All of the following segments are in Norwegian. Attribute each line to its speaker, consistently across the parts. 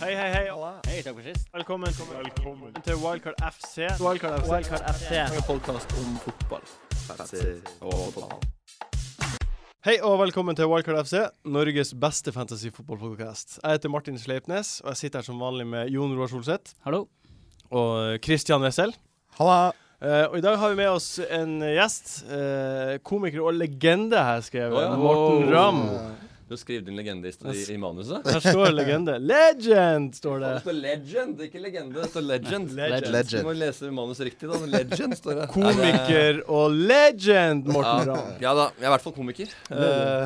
Speaker 1: Hei, hei, hei.
Speaker 2: Hei, takk for sist.
Speaker 1: Velkommen, til Wildcard FC.
Speaker 3: Wildcard FC.
Speaker 2: Wildcard FC.
Speaker 3: En podkast om fotball.
Speaker 1: Hei og velkommen til Wildcard FC, Norges beste fantasy-fotballpodkast. Jeg heter Martin Sleipnes, og jeg sitter her som vanlig med Jon Roar Solseth
Speaker 2: Hallo.
Speaker 1: og Christian Wessel.
Speaker 3: Halla.
Speaker 1: Eh, og i dag har vi med oss en gjest. eh, komiker og legende, har jeg skrevet.
Speaker 4: Å ja.
Speaker 1: Morten Ramm.
Speaker 4: Du har skrevet inn legende i, i, i manuset?
Speaker 1: Her står legende. Legend, står
Speaker 4: Det
Speaker 1: det.
Speaker 4: står legend, ikke legende. Det står legend.
Speaker 1: Legend.
Speaker 4: Du må lese manuset riktig, da. Legend står det.
Speaker 1: Komiker og legend, Morten
Speaker 4: Ja,
Speaker 1: Ramm.
Speaker 4: ja da, jeg er i hvert fall komiker.
Speaker 1: Eh,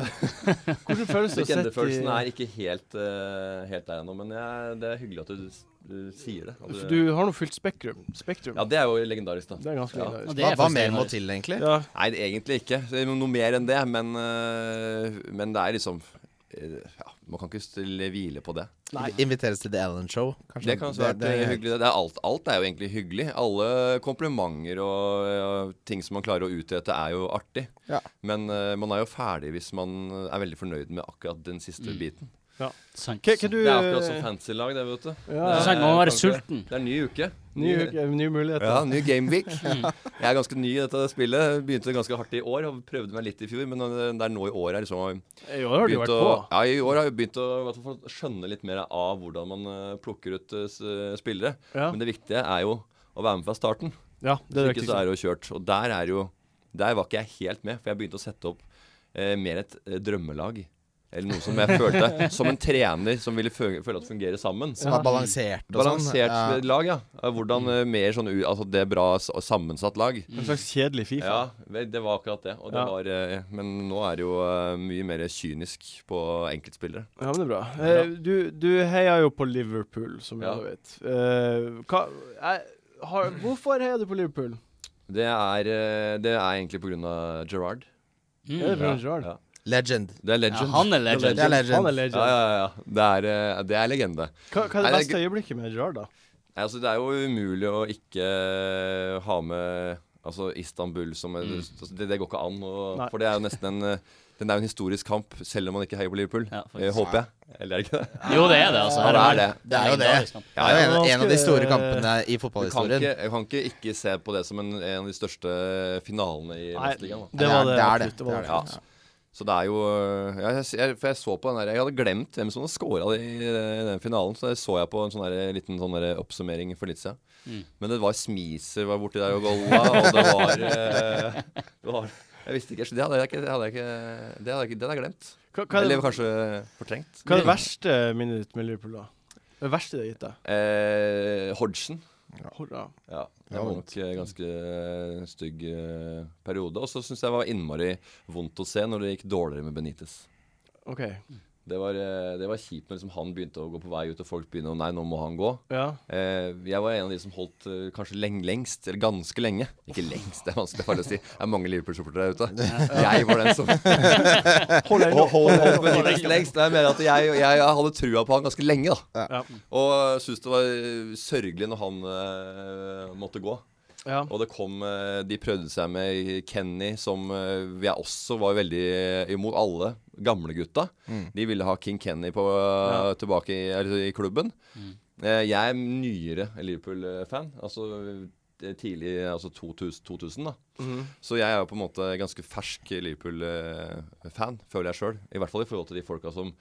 Speaker 1: hvordan føles det å sette
Speaker 4: Legendefølelsen er ikke helt, eh, helt der ennå, men jeg, det er hyggelig at du, s- du sier det. At
Speaker 1: For du har nå fylt Spektrum. Spektrum.
Speaker 4: ja, det er jo legendarisk, da.
Speaker 1: Det er ganske
Speaker 4: Ja.
Speaker 1: legendarisk.
Speaker 2: Og det
Speaker 3: Hva,
Speaker 2: er
Speaker 3: hva
Speaker 2: faktisk
Speaker 3: mer
Speaker 2: en
Speaker 3: må
Speaker 2: av-
Speaker 3: til, egentlig?
Speaker 1: Ja.
Speaker 4: Nei, det er egentlig ikke. Det er noe mer enn det, men, eh, men det er liksom eh, ja, Man kan ikke stille hvile på det.
Speaker 1: Nei.
Speaker 3: Inviteres til The Ellen Show? kanskje?
Speaker 4: Det kan også være
Speaker 3: det- det-
Speaker 4: hyggelig. Det er alt, alt er jo egentlig hyggelig. Alle komplimenter og, og ting som man klarer å utrette, er jo artig.
Speaker 3: Ja.
Speaker 4: Men eh, man er jo ferdig hvis man er veldig fornøyd med akkurat den siste biten.
Speaker 2: Sant.
Speaker 1: Hva, hva du eh,
Speaker 4: Mm. Det er akkurat som fancy lag, det, vet du.
Speaker 1: ja,
Speaker 4: Det
Speaker 2: Så
Speaker 4: er-
Speaker 2: man må være
Speaker 4: kanskje-
Speaker 2: sulten.
Speaker 4: Det er ny Mm. uke.
Speaker 1: Nye, eh, nye muligheter.
Speaker 4: Ja, ny game week. Jeg er ganske ny i dette spillet. Begynte ganske hardt i år og prøvde meg litt i fjor, men eh, det er nå i år jeg liksom har
Speaker 1: I år har du vært
Speaker 4: begynt å,
Speaker 1: på.
Speaker 4: ja, I år har jeg begynt å i hvert fall, skjønne litt mer av hvordan man eh, plukker ut eh, s- spillere.
Speaker 1: Ja.
Speaker 4: Men det viktige er jo å være med fra starten.
Speaker 1: Ja, det er
Speaker 4: Hvis ikke så
Speaker 1: riktig.
Speaker 4: er det jo kjørt. Og der er jo Der var ikke jeg helt med, for jeg begynte å sette opp eh, mer et eh, drømmelag. Eller noe som jeg følte som en trener som ville fø- føle at det fungerer sammen.
Speaker 3: Som er balansert og sånn.
Speaker 4: Balansert
Speaker 3: Ja.
Speaker 4: lag, ja. Eh, Hvordan eh, mer sånn u- Altså det er bra s- og sammensatt lag.
Speaker 1: En slags kjedelig Fifa.
Speaker 4: Ja, vel, det var akkurat det. Og det
Speaker 1: Mm. Ja.
Speaker 4: var, eh, men nå er det jo eh, mye mer kynisk på enkeltspillere.
Speaker 1: Ja, men det er bra. Eh, du, du heier jo på Liverpool, som
Speaker 4: Ja.
Speaker 1: jeg vet. Eh, hva, jeg, har, hvorfor heier du på Liverpool?
Speaker 4: Det er, eh, det er egentlig på grunn av Gerard.
Speaker 2: Mm.
Speaker 1: Er det Ron Gerrard?
Speaker 4: Ja.
Speaker 3: Legend.
Speaker 4: Det er
Speaker 2: Ja,
Speaker 4: legend.
Speaker 2: han er legend.
Speaker 3: Det er legend.
Speaker 1: Han er legend.
Speaker 4: Ja, ja, ja. Det er, eh, det er legende.
Speaker 1: Hva, hva er
Speaker 4: Nei,
Speaker 1: det
Speaker 4: det er
Speaker 1: beste øyeblikket med Gerrard, da?
Speaker 4: Nei, altså Det er jo umulig å ikke eh, ha med altså Istanbul som et- altså, det, det går ikke an. Og,
Speaker 1: Nei.
Speaker 4: for det er jo nesten en eh, Den er jo en historisk kamp, selv om man ikke heier på Liverpool.
Speaker 2: Ja, faktisk.
Speaker 4: Eh, håper jeg. Eller er det ikke det?
Speaker 2: Jo, det er det, altså.
Speaker 4: Ja, det er det.
Speaker 3: Det er jo
Speaker 2: legendarisk kamp.
Speaker 3: Det er jo en,
Speaker 1: ganske-
Speaker 3: en av de store kampene i
Speaker 4: Jeg kan, ikke,
Speaker 3: fotballhistorien.
Speaker 4: jeg kan ikke ikke se på det som en, en av de største finalene i
Speaker 1: Nei,
Speaker 4: Vestligaen. da.
Speaker 1: det var det.
Speaker 3: Det er
Speaker 1: absolutt,
Speaker 3: det. Det er det.
Speaker 4: Ja. Så det er jo eh, ja, jeg, jeg, For jeg så på den der Jeg hadde glemt hvem som hadde scora i eh, den finalen, så det så jeg på en sånn der, liten sånn der oppsummering for litt siden.
Speaker 2: Mm.
Speaker 4: Men det var Smiser var borti der og golla, og det var, eh, det var Jeg visste ikke, så det hadde jeg ikke Det hadde jeg, ikke, det hadde jeg, ikke, det hadde jeg glemt.
Speaker 1: Hva, hva, er
Speaker 4: Eller
Speaker 1: det,
Speaker 4: kanskje fortrengt.
Speaker 1: hva er det verste minnet ditt med Liverpool, da? Det verste det har gitt deg?
Speaker 4: Eh, Hodgson.
Speaker 1: Hurra.
Speaker 4: Ja, det
Speaker 3: Ja,
Speaker 4: var
Speaker 3: vondt.
Speaker 4: nok eh, ganske eh, stygg eh, periode. Og så syns jeg det var innmari vondt å se når det gikk dårligere med Benitez.
Speaker 1: OK.
Speaker 4: Det var, eh, det var kjipt når liksom han begynte å gå på vei ut, og folk begynte å Nei, nå må han gå.
Speaker 1: Ja.
Speaker 4: Eh, jeg var en av de som holdt eh, kanskje leng lengst, eller ganske lenge. Ikke lengst, det er vanskelig farlig å si. Det er mange Liverpool-supportere der ute. Jeg var den som Eh,
Speaker 1: Hold deg nå.
Speaker 4: holdt Benitez lengst. Og jeg mener at jeg, jeg, jeg hadde trua på han ganske lenge, da.
Speaker 1: Ja.
Speaker 4: Og syntes det var eh, sørgelig når han eh, måtte gå.
Speaker 1: Ja.
Speaker 4: Og det kom eh, De prøvde seg med Kenny, som eh, jeg også var veldig eh, imot. Alle gamlegutta. De ville ha King Kenny på, eh,
Speaker 1: Ja.
Speaker 4: tilbake i, eller, i klubben. Eh, jeg er nyere Liverpool-fan. Altså eh, tidlig altså 2000, 2000 da.
Speaker 1: Mhm.
Speaker 4: Så jeg er jo på en måte ganske fersk Liverpool-fan, føler jeg sjøl. I hvert fall i forhold til de folka som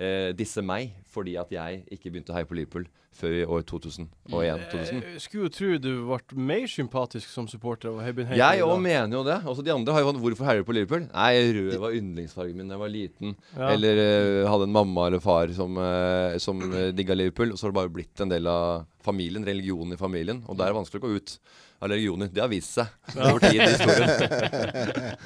Speaker 4: eh, disser meg fordi at jeg ikke begynte å heie på Liverpool før i år 2000 og 2000.
Speaker 1: Jeg Eh, skulle jo tro du ble mer sympatisk som supporter av Heiben Heiberg
Speaker 4: Jeg
Speaker 1: da.
Speaker 4: òg mener jo det. Også de andre har jo sånn Hvorfor heier du på Liverpool? Nei, rød var yndlingsfargen min da jeg var liten.
Speaker 1: Ja.
Speaker 4: Eller eh, hadde en mamma eller far som, uh, som eh, digga Liverpool. Og så har det bare blitt en del av familien, religionen i familien. Og der er det vanskelig å gå ut av religioner. Det har vist seg over tid i historien.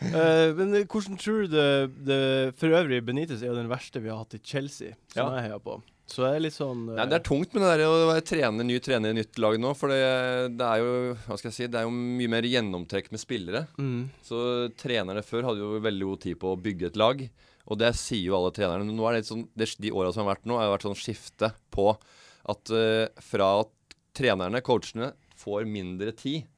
Speaker 1: Eh, men eh, hvordan tror du det, det For øvrig, Benitez er jo den verste vi har hatt i Chelsea, som
Speaker 4: Ja.
Speaker 1: jeg heier på. Så jeg er litt sånn eh,
Speaker 4: Nei, det er tungt med det der å være trener, ny trener i nytt lag nå. For det, det er jo hva skal jeg si, det er jo mye mer gjennomtrekk med spillere.
Speaker 1: mm,
Speaker 4: Så trenerne før hadde jo veldig god tid på å bygge et lag. Og det sier jo alle trenerne. Men nå er det litt sånn, det, de åra som har vært nå, har jo vært sånn skifte på at eh, fra at trenerne, coachene, får mindre tid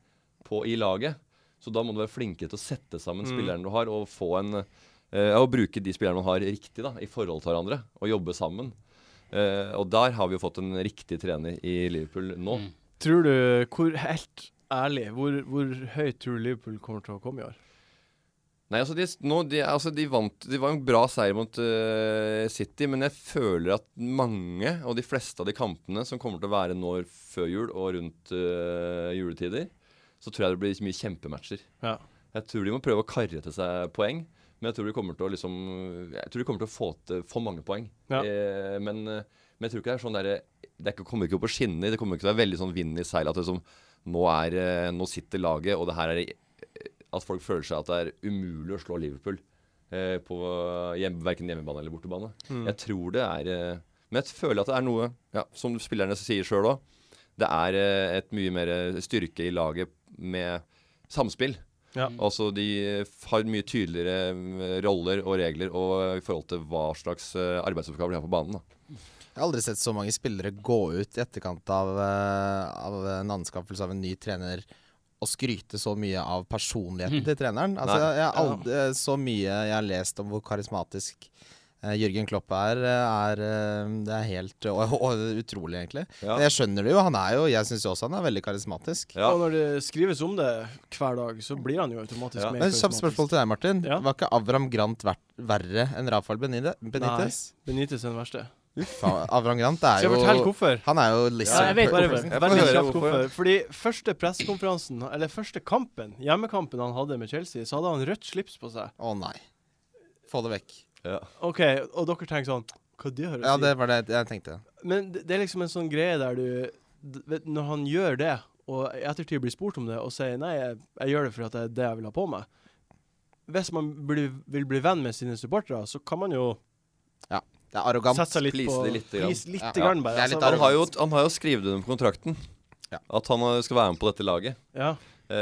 Speaker 4: på i laget, så da må du være flinkere til å sette sammen spillerne du har, og få en eh, ja, og bruke de spillerne man har riktig da, i forhold til hverandre, og jobbe sammen. Eh, og der har vi jo fått en riktig trener i Liverpool nå.
Speaker 2: Mm.
Speaker 1: Tror du, hvor helt ærlig, hvor, hvor høyt tror du Liverpool kommer til å komme i år?
Speaker 4: Nei, altså de, nå, de, altså de vant Det var en bra seier mot eh, City, men jeg føler at mange, og de fleste av de kampene som kommer til å være nå før jul og rundt eh, juletider, så tror jeg det blir mye kjempematcher.
Speaker 1: Ja.
Speaker 4: Jeg tror de må prøve å karre til seg poeng, men jeg tror de kommer til å liksom Jeg tror de kommer til å få til for mange poeng.
Speaker 1: Ja.
Speaker 4: Eh, men, eh, men jeg tror ikke det er sånn derre Det er ikke, kommer ikke opp på skinner. Det kommer ikke til å være veldig sånn vind i seilet at det som nå, er, eh, nå sitter laget, og det her er At folk føler seg at det er umulig å slå Liverpool. Eh, på hjem, verken hjemmebane eller bortebane. Jeg tror det er eh, Men jeg føler at det er noe, ja, som spillerne sier sjøl òg, det er eh, et mye mer styrke i laget med samspill.
Speaker 1: Ja.
Speaker 4: Altså De har mye tydeligere mm, roller og regler og eh, i forhold til hva slags eh, arbeidsoppgaver de har på banen. da.
Speaker 3: Jeg har aldri sett så mange spillere gå ut i etterkant av, eh, av en anskaffelse av en ny trener og skryte så mye av personligheten til treneren. Altså,
Speaker 4: Mm. Nei.
Speaker 3: jeg, jeg har aldri, eh, så mye jeg har lest om hvor karismatisk eh, Jørgen Klopp er, eh, er eh, Det er helt og, og, og utrolig, egentlig.
Speaker 4: Ja.
Speaker 3: Men jeg skjønner det jo. Han er jo Jeg syns jo også han er veldig karismatisk.
Speaker 4: Ja.
Speaker 1: Og når det skrives om det hver dag, så blir han jo automatisk
Speaker 4: Ja.
Speaker 1: mer
Speaker 3: Men kjapt
Speaker 1: karismatisk.
Speaker 3: spørsmål til deg, Martin.
Speaker 1: Ja.
Speaker 3: Var ikke Avram Grant vært verre enn Rafael Benide- Benitez?
Speaker 1: Benitez er den verste.
Speaker 3: Faen, Avram Grant er
Speaker 1: Skal jeg
Speaker 3: jo
Speaker 1: fortelle hvorfor?
Speaker 3: Han er jo
Speaker 2: Ja, jeg
Speaker 3: lizard.
Speaker 2: vet
Speaker 1: Bare
Speaker 2: hvorfor.
Speaker 4: Jeg får
Speaker 1: veldig
Speaker 4: høre
Speaker 1: kjapt
Speaker 4: hvorfor.
Speaker 1: hvorfor. Fordi første pressekonferansen, eller første kampen, hjemmekampen han hadde med Chelsea, så hadde han rødt slips på seg.
Speaker 3: Å nei. Få det vekk.
Speaker 4: Ja.
Speaker 1: OK, og dere tenker sånn Hva det har å
Speaker 3: Ja,
Speaker 1: si?
Speaker 3: det var det jeg tenkte.
Speaker 1: Men det, det er liksom en sånn greie der du d- vet, Når han gjør det, og i ettertid blir spurt om det, og sier nei, jeg, jeg gjør det fordi at det er det jeg vil ha på meg Hvis man blir, vil bli venn med sine supportere, så kan man jo
Speaker 3: Det er arrogant.
Speaker 1: sette seg litt
Speaker 4: please
Speaker 1: på
Speaker 4: det litt grann.
Speaker 1: please litt
Speaker 3: Ja.
Speaker 1: grann bare.
Speaker 3: Det er litt
Speaker 4: Han
Speaker 1: altså,
Speaker 4: har jo, han har jo skrevet under på kontrakten
Speaker 3: Ja.
Speaker 4: at han eh, skal være med på dette laget.
Speaker 1: ja.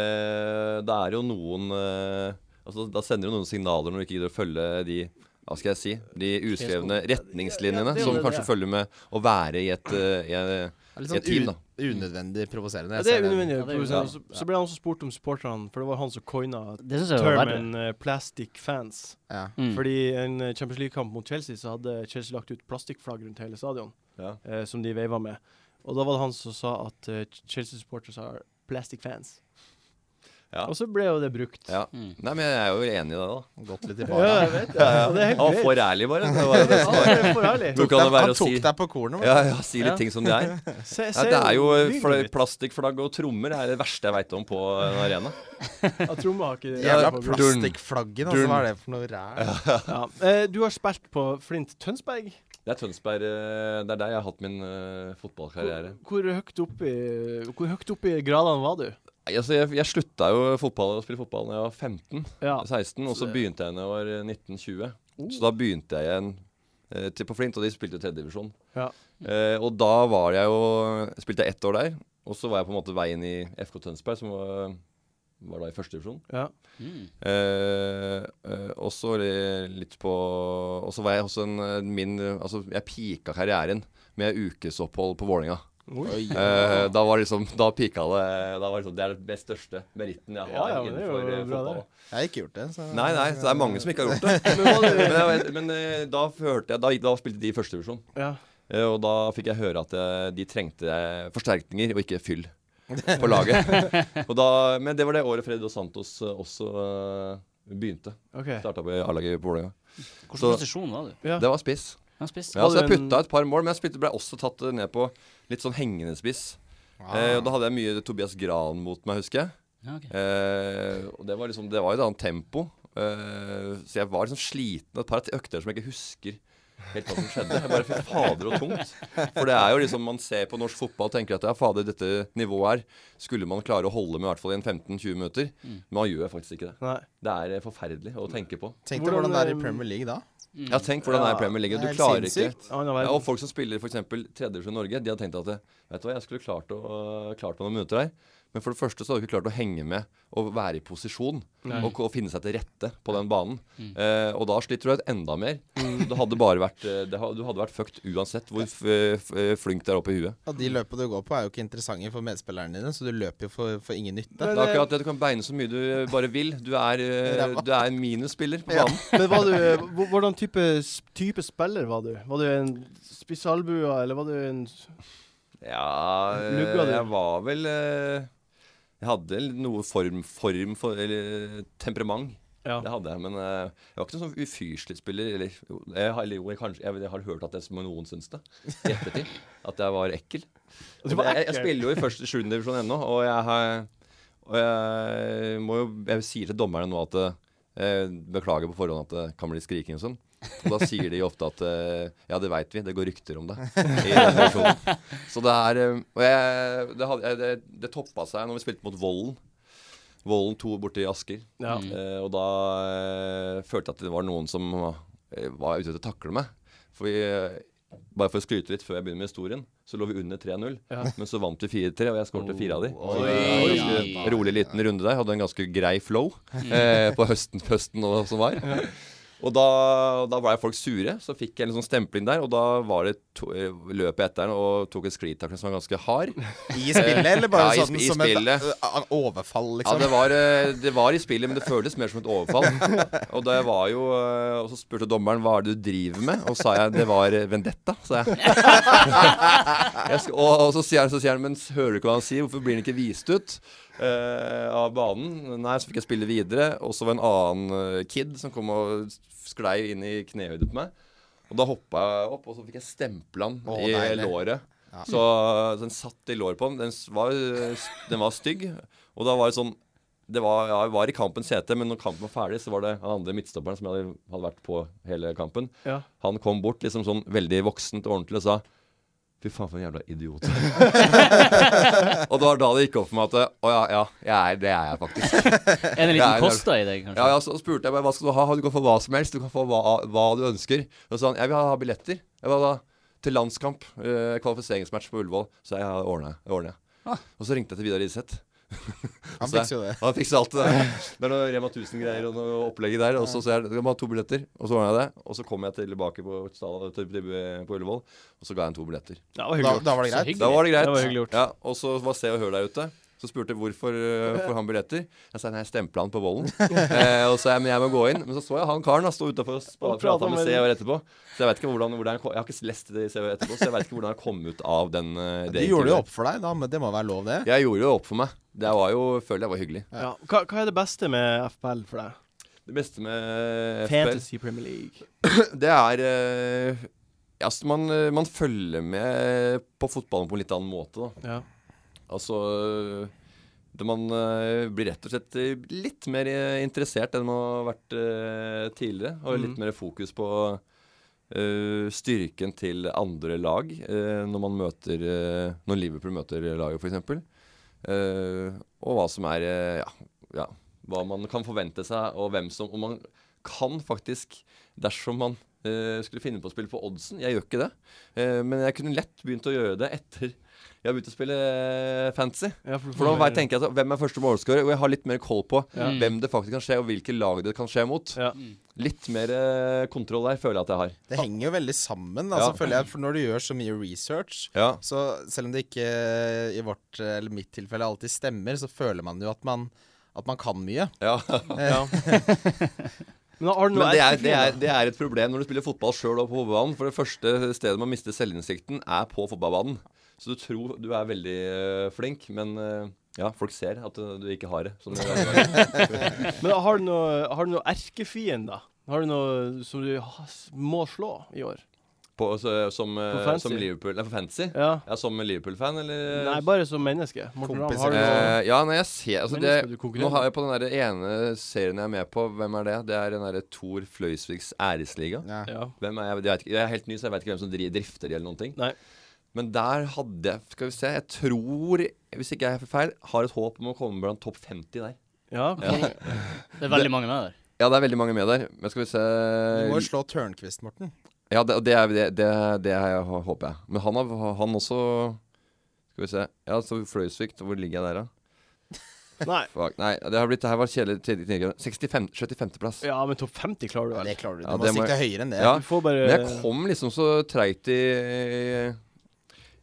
Speaker 4: Eh, det er jo noen eh, altså, Da sender jo noen signaler når du ikke gidder å følge de hva skal jeg si, de uskrevne retningslinjene
Speaker 1: Ja, ja, det er jo
Speaker 4: som
Speaker 1: det det
Speaker 4: kanskje
Speaker 1: er.
Speaker 4: følger med å være i et, eh, i en-
Speaker 3: Det er
Speaker 4: i
Speaker 3: litt sånn
Speaker 4: et team. da.
Speaker 3: u- unødvendig provoserende.
Speaker 1: Ja,
Speaker 3: Jeg
Speaker 1: det er
Speaker 3: ser den.
Speaker 1: unødvendig.
Speaker 2: Ja, det er
Speaker 1: å provosere.
Speaker 2: unødvendig.
Speaker 1: Så, så ble han også spurt om supporterne, for det var han som coina
Speaker 2: Det syns jeg var verre.
Speaker 1: termen eh, 'plastic fans'.
Speaker 3: Ja.
Speaker 2: Mm.
Speaker 1: Fordi i en eh, Champions League-kamp mot Chelsea så hadde Chelsea lagt ut plastikkflagg rundt hele stadion,
Speaker 4: Ja.
Speaker 1: eh, som de veiva med. Og da var det han som sa at eh, Ch- Chelsea-supporters are plastic fans.
Speaker 4: Ja.
Speaker 1: Og så ble jo det brukt.
Speaker 4: Ja.
Speaker 2: Mm.
Speaker 4: Nei, men jeg er jo enig i det, da.
Speaker 3: Gått litt i
Speaker 1: Ja,
Speaker 3: baren.
Speaker 1: jeg vet det. Og det er helt
Speaker 4: Han var
Speaker 1: greit.
Speaker 4: for ærlig, bare. Det var jo det
Speaker 1: Ja,
Speaker 4: som var.
Speaker 1: det er for ærlig.
Speaker 4: Tok han å være
Speaker 3: han
Speaker 4: å
Speaker 3: tok
Speaker 4: si
Speaker 3: deg på kornet.
Speaker 4: Ja,
Speaker 3: Ja.
Speaker 4: ja, si litt
Speaker 1: Ja.
Speaker 4: ting som det er.
Speaker 1: Se-
Speaker 4: Ja,
Speaker 1: se
Speaker 4: det er jo eh,
Speaker 1: lyden
Speaker 4: fla-
Speaker 1: litt.
Speaker 4: plastikkflagg og trommer er det verste jeg veit om på eh, en arena.
Speaker 1: Ja, tromma har ikke
Speaker 3: Jævla
Speaker 1: Ja,
Speaker 3: plastikkflaggen, altså.
Speaker 4: Durn.
Speaker 3: Hva er det for noe ræl?
Speaker 1: Eh, Du har spilt på Flint Tønsberg.
Speaker 4: Det er Tønsberg eh, Det er der jeg har hatt min eh, fotballkarriere.
Speaker 1: Hvor høyt opp i, hvor høyt opp i gradene var du?
Speaker 4: Nei, Altså, jeg, jeg slutta jo fotball, å spille fotball da jeg var 15.
Speaker 1: Ja.
Speaker 4: 16, og så
Speaker 1: Så- Oh.
Speaker 4: begynte jeg da jeg var eh, 1920. Så da begynte jeg igjen eh, til på Flint, og de spilte tredjedivisjon.
Speaker 1: Ja.
Speaker 4: Eh, og da var jeg jo Spilte jeg ett år der, og så var jeg på en måte veien i FK Tønsberg, som var, var da i førstedivisjon.
Speaker 1: ja.
Speaker 2: Mm.
Speaker 4: Eh, eh, og så eh, litt på Og så var jeg også en eh, min eh, Altså, jeg pika karrieren med ukesopphold på Vålinga.
Speaker 1: Oi.
Speaker 4: Eh, da var liksom Da pika det Da var liksom, Det er den største meritten jeg har
Speaker 1: Ja, ja, men det er jo
Speaker 4: innenfor eh,
Speaker 1: bra, det.
Speaker 4: fotball.
Speaker 3: Jeg har ikke gjort det. Så.
Speaker 4: Nei, nei, så det er mange som ikke har gjort det.
Speaker 1: Men var
Speaker 4: Men,
Speaker 1: det,
Speaker 4: jeg, vet- men eh, da hørte jeg Da, da spilte de i førstedivisjon.
Speaker 1: ja.
Speaker 4: Eh, og da fikk jeg høre at eh, de trengte eh, forsterkninger og ikke fyll på laget. og da, men det var det året Freddy Dos Santos eh, også eh, begynte.
Speaker 1: OK.
Speaker 4: Starta på A-laget på Vålerenga.
Speaker 2: Hvilken
Speaker 4: Så-
Speaker 2: posisjon var du?
Speaker 1: Ja.
Speaker 4: Det var spiss.
Speaker 2: Han spiste.
Speaker 4: Ja, så
Speaker 1: Var
Speaker 4: jeg
Speaker 1: du en-
Speaker 4: putta et par mål, men jeg spilte, ble også tatt eh, ned på litt sånn hengende spiss.
Speaker 1: Ah.
Speaker 4: Eh, og da hadde jeg mye Tobias Gran mot meg, husker jeg.
Speaker 2: Ja, ok.
Speaker 4: Eh, og det var liksom Det var jo et annet tempo. Eh, så jeg var liksom sliten et par økter som jeg ikke husker helt hva som skjedde. Jeg bare fikk fader og tungt. For det er jo liksom man ser på norsk fotball og tenker at ja, fader, dette nivået her skulle man klare å holde med i hvert fall i en 15-20 minutter.
Speaker 3: Mm.
Speaker 4: Men man gjør faktisk ikke det.
Speaker 1: Nei.
Speaker 4: Det er eh, forferdelig å tenke på.
Speaker 3: Tenk deg
Speaker 1: Hvordan,
Speaker 3: hvordan det er i
Speaker 1: eh,
Speaker 3: Premier League da.
Speaker 4: Ja, tenk hvordan det
Speaker 1: Ja,
Speaker 4: er i Premier League.
Speaker 3: det er
Speaker 4: Du
Speaker 3: helt
Speaker 4: klarer ikke
Speaker 3: sinnssykt.
Speaker 1: Annen
Speaker 4: ja, og
Speaker 1: verden.
Speaker 4: folk eh, som spiller f.eks. tredjedivisjon Norge, de hadde tenkt at Vet du hva, jeg skulle eh, klart, å, klart meg noen minutter her, Men for det første så hadde du ikke klart å henge med og være i posisjon
Speaker 1: Nei.
Speaker 4: og, og finne seg til rette på den banen. Eh, og da sliter du ut enda mer. Det hadde bare vært, eh, det, ha- du hadde vært fucked uansett hvor f, f, eh, flink du er oppe i huet.
Speaker 3: Og de løpene du går på, er jo ikke interessante for medspillerne dine, så du løper jo for, for ingen nytte.
Speaker 4: Det er akkurat det, Du kan beine så mye du bare vil. Du er, eh,
Speaker 3: Ræva.
Speaker 4: du er en minusspiller på banen.
Speaker 1: Men var du hv- Hvordan type, s- type spiller var du? Var du en spissalbua, eller var du en
Speaker 4: Ja, eh,
Speaker 1: Lugga du?
Speaker 4: jeg var vel eh, Jeg hadde l- noe form, form for Eller temperament.
Speaker 1: Ja.
Speaker 4: Det hadde jeg, men eh, jeg var ikke noen sånn ufyselig spiller. Eller jo, jeg, har- eller jo, jeg, kanskje, jeg, jeg har hørt at det som noen syns det, i ettertid. At jeg var ekkel.
Speaker 1: Du Altså, var
Speaker 4: Men jeg, jeg
Speaker 1: ekkel.
Speaker 4: spiller jo i første sjuende divisjon ennå, og jeg har og jeg må jo Jeg sier til dommerne nå at eh, Beklager på forhånd at det kan bli skriking og sånn. Og da sier de jo ofte at eh, Ja, det veit vi, det går rykter om det. I den divisjonen. Så det er eh, Og jeg, det, hadde, jeg- det, det toppa seg når vi spilte mot Vollen. Vollen 2 borte i Asker.
Speaker 1: Ja.
Speaker 4: Eh, og da eh, følte jeg at det var noen som eh, var ute etter å takle meg. For vi, eh, bare for å skryte litt før jeg begynner med historien, så lå vi under 3-0.
Speaker 1: Ja.
Speaker 4: Men så vant vi 4-3, og jeg skårte fire av de. Så
Speaker 3: Oi. Mm.
Speaker 4: det var en ganske rolig liten runde der. Hadde en ganske grei flow eh, på høsten, høsten og som var. Og da, da var folk sure, så fikk jeg en sånn stempling der. Og da var det to, eh, løp jeg etter den og tok en sklitakle som var ganske hard.
Speaker 3: I spillet, eller bare
Speaker 4: Ja, i
Speaker 3: sånn
Speaker 4: sp- i
Speaker 3: som et
Speaker 4: spillet.
Speaker 3: eh, overfall,
Speaker 4: Ja,
Speaker 3: liksom?
Speaker 4: det var, eh, det var i spillet, men det føltes mer som et overfall. Og da jeg var jo eh, Og så spurte dommeren hva er det du driver med, og sa jeg det var eh, vendetta. Sa jeg. jeg sk- og, og så sier han, så sier han men s- hører du ikke hva han sier, hvorfor blir han ikke vist ut eh, av banen? Nei, så fikk jeg spille videre, og så var det en annen eh, kid som kom og sklei inn i knehøyde på meg. Og da hoppa jeg opp, og så fikk jeg stempla han
Speaker 3: Å,
Speaker 4: i
Speaker 3: deilig.
Speaker 4: låret. Så den satt i låret på ham. Den s- var, eh, s- den var stygg. Og da var det sånn det var, ja, jeg var i kampens hete, men når kampen var ferdig, så var det han andre midtstopperen som jeg hadde, hadde vært på hele kampen.
Speaker 1: Ja.
Speaker 4: Han kom bort liksom sånn veldig voksent og ordentlig og sa Fy faen, for en jævla idiot. og det var da det gikk opp for meg at Å ja, ja, jeg er, det er jeg faktisk.
Speaker 2: Er det en
Speaker 4: Det er-
Speaker 2: liten kosta i deg, kanskje?
Speaker 4: Ja, ja, så spurte jeg meg hva skal du ha. Du kan få hva som helst. Du kan få hva, hva du ønsker. Og så sa han jeg vil ha billetter. Jeg vil ha til landskamp. eh, kvalifiseringsmatch på Ullevål. Så jeg ja, det ordner jeg. det ordner jeg. Og så ringte jeg til Vidar Idseth.
Speaker 3: Han
Speaker 4: Så jeg-
Speaker 3: fikser jo det.
Speaker 4: Han fikser alt det der. Det er noe Rema 1000-greier og noe opplegget der. Og så sier jeg du kan ha to billetter. Og så ordna jeg det. Og så kom jeg tilbake på, stadion- til- til- på Ullevål, og så ga jeg han to billetter.
Speaker 1: Det var
Speaker 3: Da,
Speaker 1: hyggelig.
Speaker 3: da var det
Speaker 2: Så
Speaker 3: greit.
Speaker 2: hyggelig.
Speaker 4: Da var det greit.
Speaker 1: Det var hyggelig gjort.
Speaker 4: Ja, og så var Se og Hør der ute. Så spurte jeg hvorfor uh, får han billetter. Jeg sa nei, jeg stempla han på Vollen. eh, og så sa jeg men jeg må gå inn. Men så så jeg han karen da, stå utafor og spa-
Speaker 1: Og prate
Speaker 4: prata med
Speaker 1: med
Speaker 4: Se
Speaker 1: dem.
Speaker 4: og Hør etterpå. Så jeg vet ikke hvordan, hvordan jeg, kom, jeg har ikke lest det i Se og Hør etterpå, så jeg vet ikke hvordan jeg kom ut av den. eh,
Speaker 3: Du
Speaker 4: det
Speaker 3: gjorde det
Speaker 4: intervjuet.
Speaker 3: opp for deg, da, men det må være lov, det.
Speaker 4: Jeg gjorde det opp for meg. Det var jo, føler jeg var hyggelig.
Speaker 1: Ja. Hva, hva er det beste med FPL for deg?
Speaker 4: Det beste med FPL,
Speaker 1: Fantasy Premier League.
Speaker 4: det er eh, Altså, man, man følger med på fotballen på en litt annen måte, da.
Speaker 1: Ja.
Speaker 4: Altså øh, det Man øh, blir rett og slett øh, litt mer øh, interessert enn man har vært øh, tidligere. Og litt
Speaker 1: Mhm.
Speaker 4: mer fokus på øh, styrken til andre lag øh, når man møter øh, Når Liverpool møter laget, f.eks. Uh, og hva som er øh, ja, ja, hva man kan forvente seg, og hvem som Og man kan faktisk, dersom man øh, skulle finne på å spille på oddsen Jeg gjør ikke det, øh, men jeg kunne lett begynt å gjøre det etter jeg har begynt å spille øh, fantasy.
Speaker 1: Ja, for,
Speaker 4: For nå vet- tenker jeg så, hvem er første målskårer, og jeg har litt mer koll på
Speaker 1: Ja.
Speaker 4: hvem det faktisk kan skje, og hvilke lag det kan skje mot.
Speaker 1: Ja.
Speaker 2: Mm.
Speaker 4: Litt mer eh, kontroll der føler jeg at jeg har.
Speaker 3: Det henger jo veldig sammen, altså,
Speaker 4: Ja.
Speaker 3: føler jeg, for når du gjør så mye research
Speaker 4: Ja.
Speaker 3: Så selv om det ikke eh, i vårt, eller mitt tilfelle alltid stemmer, så føler man jo at man, at man kan mye.
Speaker 1: Men har du
Speaker 4: Men
Speaker 1: noe
Speaker 4: det er,
Speaker 1: ekstra
Speaker 4: det, er,
Speaker 1: fint,
Speaker 4: det er et problem når du spiller fotball sjøl og på hovedbanen. For det første stedet man mister selvinnsikten, er på fotballbanen. Så du tror du er veldig eh, flink, men eh, ja, folk ser at eh, du ikke har det. Som eh, det
Speaker 1: da? Men har du noe, har du noe erkefiender? Har du noe som du ha- må slå i år?
Speaker 4: på, så, som, eh,
Speaker 1: For fancy.
Speaker 4: som Liverpool Nei, for fancy.
Speaker 1: Ja.
Speaker 4: Ja, som Liverpool-fan, eller?
Speaker 1: Nei, bare som menneske. Morten Ramm,
Speaker 3: Kompiser.
Speaker 1: har du noe
Speaker 4: Eh, ja, nei, jeg ser altså
Speaker 1: Men
Speaker 4: det,
Speaker 1: nå skal du konkurrere.
Speaker 4: Nå har jeg på den der ene serien jeg er med på, hvem er det? Det er den derre Thor Fløysviks æresliga.
Speaker 3: Ja.
Speaker 1: Ja.
Speaker 4: Hvem er jeg? Jeg, vet ikke, jeg er helt ny, så jeg vet ikke hvem som dri- drifter de, eller noen ting.
Speaker 1: Nei.
Speaker 4: Men der hadde jeg Skal vi se, jeg tror, hvis ikke jeg er feil, har et håp om å komme blant topp 50 der.
Speaker 1: ja.
Speaker 4: Ja.
Speaker 2: Det er veldig mange med der.
Speaker 4: Ja, det er veldig mange med der. Men skal vi se Eh,
Speaker 3: Du må jo slå Tørnquist, Morten.
Speaker 4: Ja, det, og det, er- det, det, det er- håper jeg. Men han, har, han også Skal vi se. Ja, så Fløysvik, hvor ligger jeg der, da?
Speaker 1: Nei.
Speaker 4: Fuck, nei, det har blitt, det her var kjedelig. tidlig- tidlig. 65. 75. plass.
Speaker 1: Ja, men topp 50 klarer du
Speaker 3: Ja,
Speaker 1: vel?
Speaker 3: det klarer du. Du
Speaker 4: Ja,
Speaker 3: må
Speaker 4: det må
Speaker 3: sikte høyere enn det.
Speaker 4: Ja.
Speaker 1: Du får bare
Speaker 4: Men jeg kom liksom så treigt i,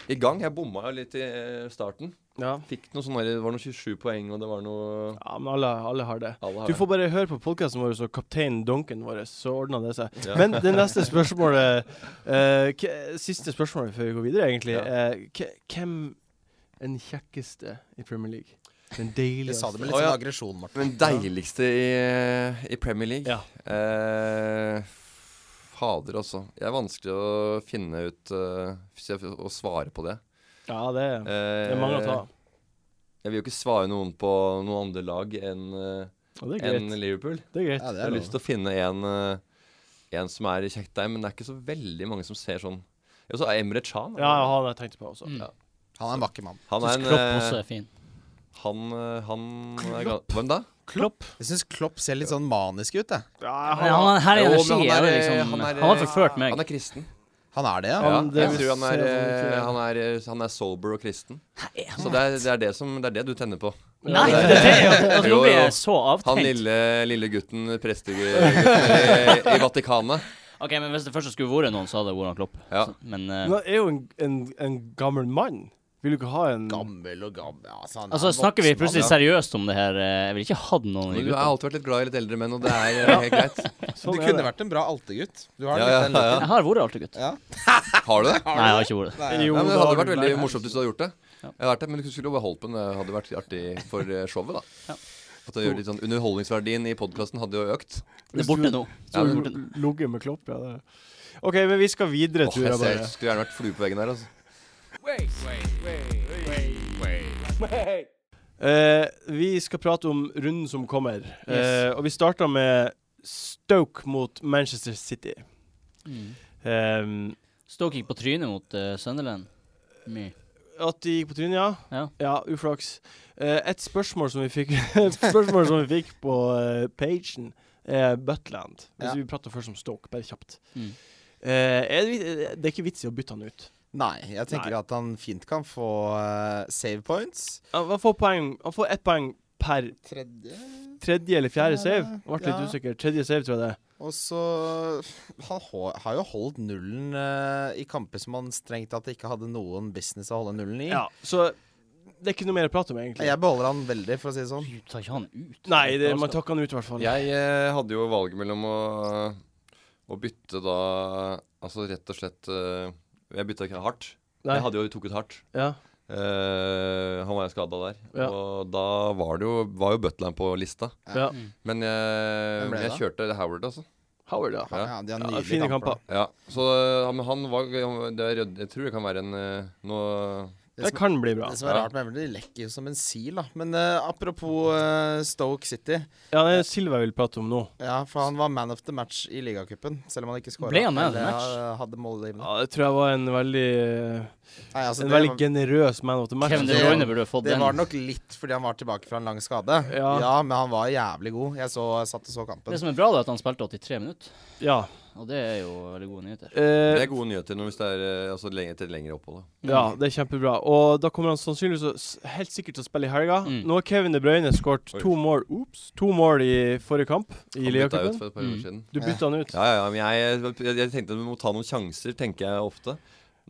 Speaker 4: i gang. Jeg bomma jo litt i eh, starten.
Speaker 1: ja.
Speaker 4: Fikk noe sånn der, Det var noe 27 poeng, og det var noe
Speaker 1: ja, men alle, alle har det.
Speaker 4: Alle har
Speaker 1: Du
Speaker 4: det.
Speaker 1: får bare høre på podkasten vår og kaptein Duncan vår, så ordner det seg.
Speaker 4: Ja.
Speaker 1: Men det neste spørsmålet eh, k- Siste spørsmålet før vi går videre, egentlig.
Speaker 4: Ja.
Speaker 1: eh, k- hvem er den kjekkeste i Premier League? Den
Speaker 3: Du sa det
Speaker 1: deiligste?
Speaker 3: med
Speaker 4: Å,
Speaker 3: litt sånn
Speaker 4: ja.
Speaker 3: aggresjon, Morten.
Speaker 4: Men deiligste i, i Premier League
Speaker 1: Ja.
Speaker 4: eh, Fader, altså. Det er vanskelig å finne ut eh, Å svare på det.
Speaker 1: Ja, det er,
Speaker 4: Eh,
Speaker 1: det er mange å ta av.
Speaker 4: Jeg vil jo ikke svare noen på noen andre lag enn eh,
Speaker 1: Og det er
Speaker 4: enn
Speaker 1: greit.
Speaker 4: Liverpool.
Speaker 1: Det er greit.
Speaker 3: Ja, det
Speaker 4: Jeg
Speaker 3: er
Speaker 4: har
Speaker 3: lov.
Speaker 4: lyst til å finne en, eh, en som er kjekk der, men det er ikke så veldig mange som ser sånn Og så er Emre Chan.
Speaker 1: Ja, han har jeg tenkt på også.
Speaker 2: Mm.
Speaker 4: Ja.
Speaker 3: Han er en vakker mann.
Speaker 4: Han er en
Speaker 2: Klopp også
Speaker 4: eh,
Speaker 2: er fin.
Speaker 4: Han, eh, han er ga- Hvem da?
Speaker 1: Klopp.
Speaker 3: Jeg syns Klopp ser litt sånn manisk ut, jeg.
Speaker 1: Ja,
Speaker 2: Men han har- her er
Speaker 4: Jo, men
Speaker 2: energi.
Speaker 4: han
Speaker 2: Han,
Speaker 4: er,
Speaker 2: er,
Speaker 4: eh,
Speaker 2: liksom,
Speaker 4: han
Speaker 2: han,
Speaker 4: er,
Speaker 2: har forført meg.
Speaker 4: Han er kristen.
Speaker 3: Han er det, ja.
Speaker 4: Ja,
Speaker 1: men det
Speaker 4: jeg
Speaker 1: vil
Speaker 4: tror han er,
Speaker 1: se sånn ut,
Speaker 4: eh,
Speaker 1: ja.
Speaker 4: han er, han er sober og kristen. Så det er det, er det, som, det, er det du tenner på.
Speaker 2: Nei, det er jo altså, Nå
Speaker 4: Jo,
Speaker 2: blir
Speaker 4: jo.
Speaker 2: jeg så
Speaker 4: Han
Speaker 2: avtenkt.
Speaker 4: lille, lille gutten, prestegutten i, i Vatikanet.
Speaker 2: Ok, men Hvis det først skulle vært noen, så hadde det vært han Klopp.
Speaker 4: Ja.
Speaker 2: Så, men eh,
Speaker 1: Men han er jo en, en, en gammel mann. Vil du ikke ha en
Speaker 3: Gammel og gammel altså, han er
Speaker 2: altså,
Speaker 3: en
Speaker 2: snakker vi
Speaker 3: voksen
Speaker 2: plutselig
Speaker 3: mann,
Speaker 2: seriøst om det her? eh, Jeg ville ikke hatt
Speaker 4: Men
Speaker 2: noen i
Speaker 4: du har
Speaker 2: gruppa.
Speaker 4: alltid vært litt glad i litt eldre menn, og det er eh, helt greit.
Speaker 3: ja.
Speaker 1: Sånn
Speaker 3: Du
Speaker 1: er
Speaker 3: kunne
Speaker 1: det.
Speaker 3: vært en bra altegutt. Du har
Speaker 4: Ja,
Speaker 3: litt
Speaker 4: ja,
Speaker 3: den looken.
Speaker 2: Jeg har vært altergutt.
Speaker 3: Ja.
Speaker 4: Har du det?
Speaker 2: Nei, jeg har ikke vært det.
Speaker 3: Nei,
Speaker 1: Jo,
Speaker 4: Ja, men det
Speaker 1: da har
Speaker 4: hadde
Speaker 1: du
Speaker 4: vært veldig
Speaker 1: lært.
Speaker 4: morsomt hvis du hadde gjort det.
Speaker 2: Ja.
Speaker 4: Jeg har vært det, Men du skulle jo beholdt på den. Det hadde vært artig for eh, showet,
Speaker 2: Ja.
Speaker 4: da. At det gjør litt sånn Underholdningsverdien i podkasten hadde jo økt.
Speaker 2: Det er borte nå.
Speaker 1: Så
Speaker 4: Ja,
Speaker 2: det er
Speaker 1: l-
Speaker 2: borte nå.
Speaker 1: Ligget med Klopp, ja. Det. OK, men vi skal videre,
Speaker 4: Åh,
Speaker 1: tror
Speaker 4: jeg
Speaker 1: jeg
Speaker 4: ser,
Speaker 1: bare.
Speaker 4: skulle gjerne vært flue på veggen der, altså.
Speaker 1: Eh, vi skal prate om runden som kommer. Eh, og vi starter med Stoke mot Manchester City.
Speaker 2: Mm.
Speaker 1: Ehm,
Speaker 2: Stoke gikk på trynet mot eh, Sunderland. Mye.
Speaker 1: at de gikk på trynet, ja.
Speaker 2: Ja.
Speaker 1: uflaks. Eh, et spørsmål som vi fikk et Spørsmål som vi fikk på eh, pagen, er Butland. Hvis
Speaker 3: Ja.
Speaker 1: vi prater først om Stoke, bare kjapt.
Speaker 2: Mm.
Speaker 1: Eh, er det, vi- det er ikke vits i å bytte han ut.
Speaker 3: Nei, jeg tenker
Speaker 1: Nei.
Speaker 3: at han fint kan få eh, save points.
Speaker 1: Han han får, poeng, han får ett poeng per
Speaker 3: Tredje
Speaker 1: tredje eller fjerde
Speaker 3: Fjerde,
Speaker 1: save. Jeg Ble litt
Speaker 3: ja.
Speaker 1: usikker. Tredje save, tror jeg det. er.
Speaker 3: Og så Han hå- har jo holdt nullen eh, i kamper som han strengt tatt ikke hadde noen business å holde nullen i.
Speaker 1: Ja, så det er ikke noe mer å prate om, egentlig.
Speaker 3: Jeg beholder han veldig, for å si det sånn.
Speaker 2: Du tar ikke han ut?
Speaker 1: Nei, det, man takker han ut, i hvert fall.
Speaker 4: Jeg eh, hadde jo valget mellom å, å bytte da Altså rett og slett eh, Jeg bytta ikke hardt.
Speaker 1: Nei.
Speaker 4: Jeg hadde jo tok ut hardt.
Speaker 1: Ja.
Speaker 4: Eh, han var jo skada der.
Speaker 1: Ja.
Speaker 4: Og da var det jo, var jo Butland på lista.
Speaker 1: ja.
Speaker 3: Mm.
Speaker 4: Men jeg,
Speaker 3: Hvem ble
Speaker 4: men jeg
Speaker 3: det
Speaker 4: kjørte Howard, altså.
Speaker 1: Howard, ja.
Speaker 4: Ja.
Speaker 3: Ja, de har
Speaker 1: ja
Speaker 3: nydelige
Speaker 1: fine
Speaker 3: kamper.
Speaker 1: kamper.
Speaker 3: da.
Speaker 4: Ja, så eh, men han var det er, rød- Jeg tror det kan være en eh, noe
Speaker 1: Det kan bli bra.
Speaker 3: Det som er
Speaker 4: Ja.
Speaker 3: rart med Everton, de lekker jo som en sil, da. Men eh, apropos eh, Stoke City.
Speaker 1: Ja, det er Silva jeg vil prate om nå.
Speaker 3: Ja, for han var man of the match i ligacupen, selv om han ikke skåra.
Speaker 2: Ble han man of the match?
Speaker 3: Hadde målgivende.
Speaker 1: Ja, det tror jeg var en veldig
Speaker 3: Nei, altså,
Speaker 1: En
Speaker 3: det
Speaker 1: veldig
Speaker 3: var-
Speaker 1: generøs man of the match. Altså,
Speaker 2: Kevin De
Speaker 3: Det-
Speaker 2: Bruyne burde ha fått
Speaker 3: Det
Speaker 2: den.
Speaker 3: var nok litt fordi han var tilbake fra en lang skade. Ja,
Speaker 1: Ja.
Speaker 3: men han var jævlig god. Jeg, så, jeg satt og så
Speaker 2: Det
Speaker 3: kampen.
Speaker 2: som er bra, det er at han spilte 83 minutter.
Speaker 1: Ja.
Speaker 2: Og det er jo veldig gode nyheter.
Speaker 4: Det
Speaker 1: Eh,
Speaker 4: er gode nyheter når hvis det er eh, altså, lenge, til et lengre opphold. da.
Speaker 2: Mm.
Speaker 1: ja, det er kjempebra. Og da kommer han sannsynligvis å s- helt sikkert til å spille i helga.
Speaker 2: Mm.
Speaker 1: Nå har Kevin De Bruyne skåret
Speaker 4: Oi.
Speaker 1: to mål Ups, to mål i forrige kamp i
Speaker 4: Han bytta ut
Speaker 1: Liacupen.
Speaker 4: for et par år
Speaker 2: Mm.
Speaker 4: siden.
Speaker 1: Du bytta han ut.
Speaker 4: Ja, ja, ja, men jeg, jeg, jeg tenkte at vi må ta noen sjanser, tenker jeg ofte.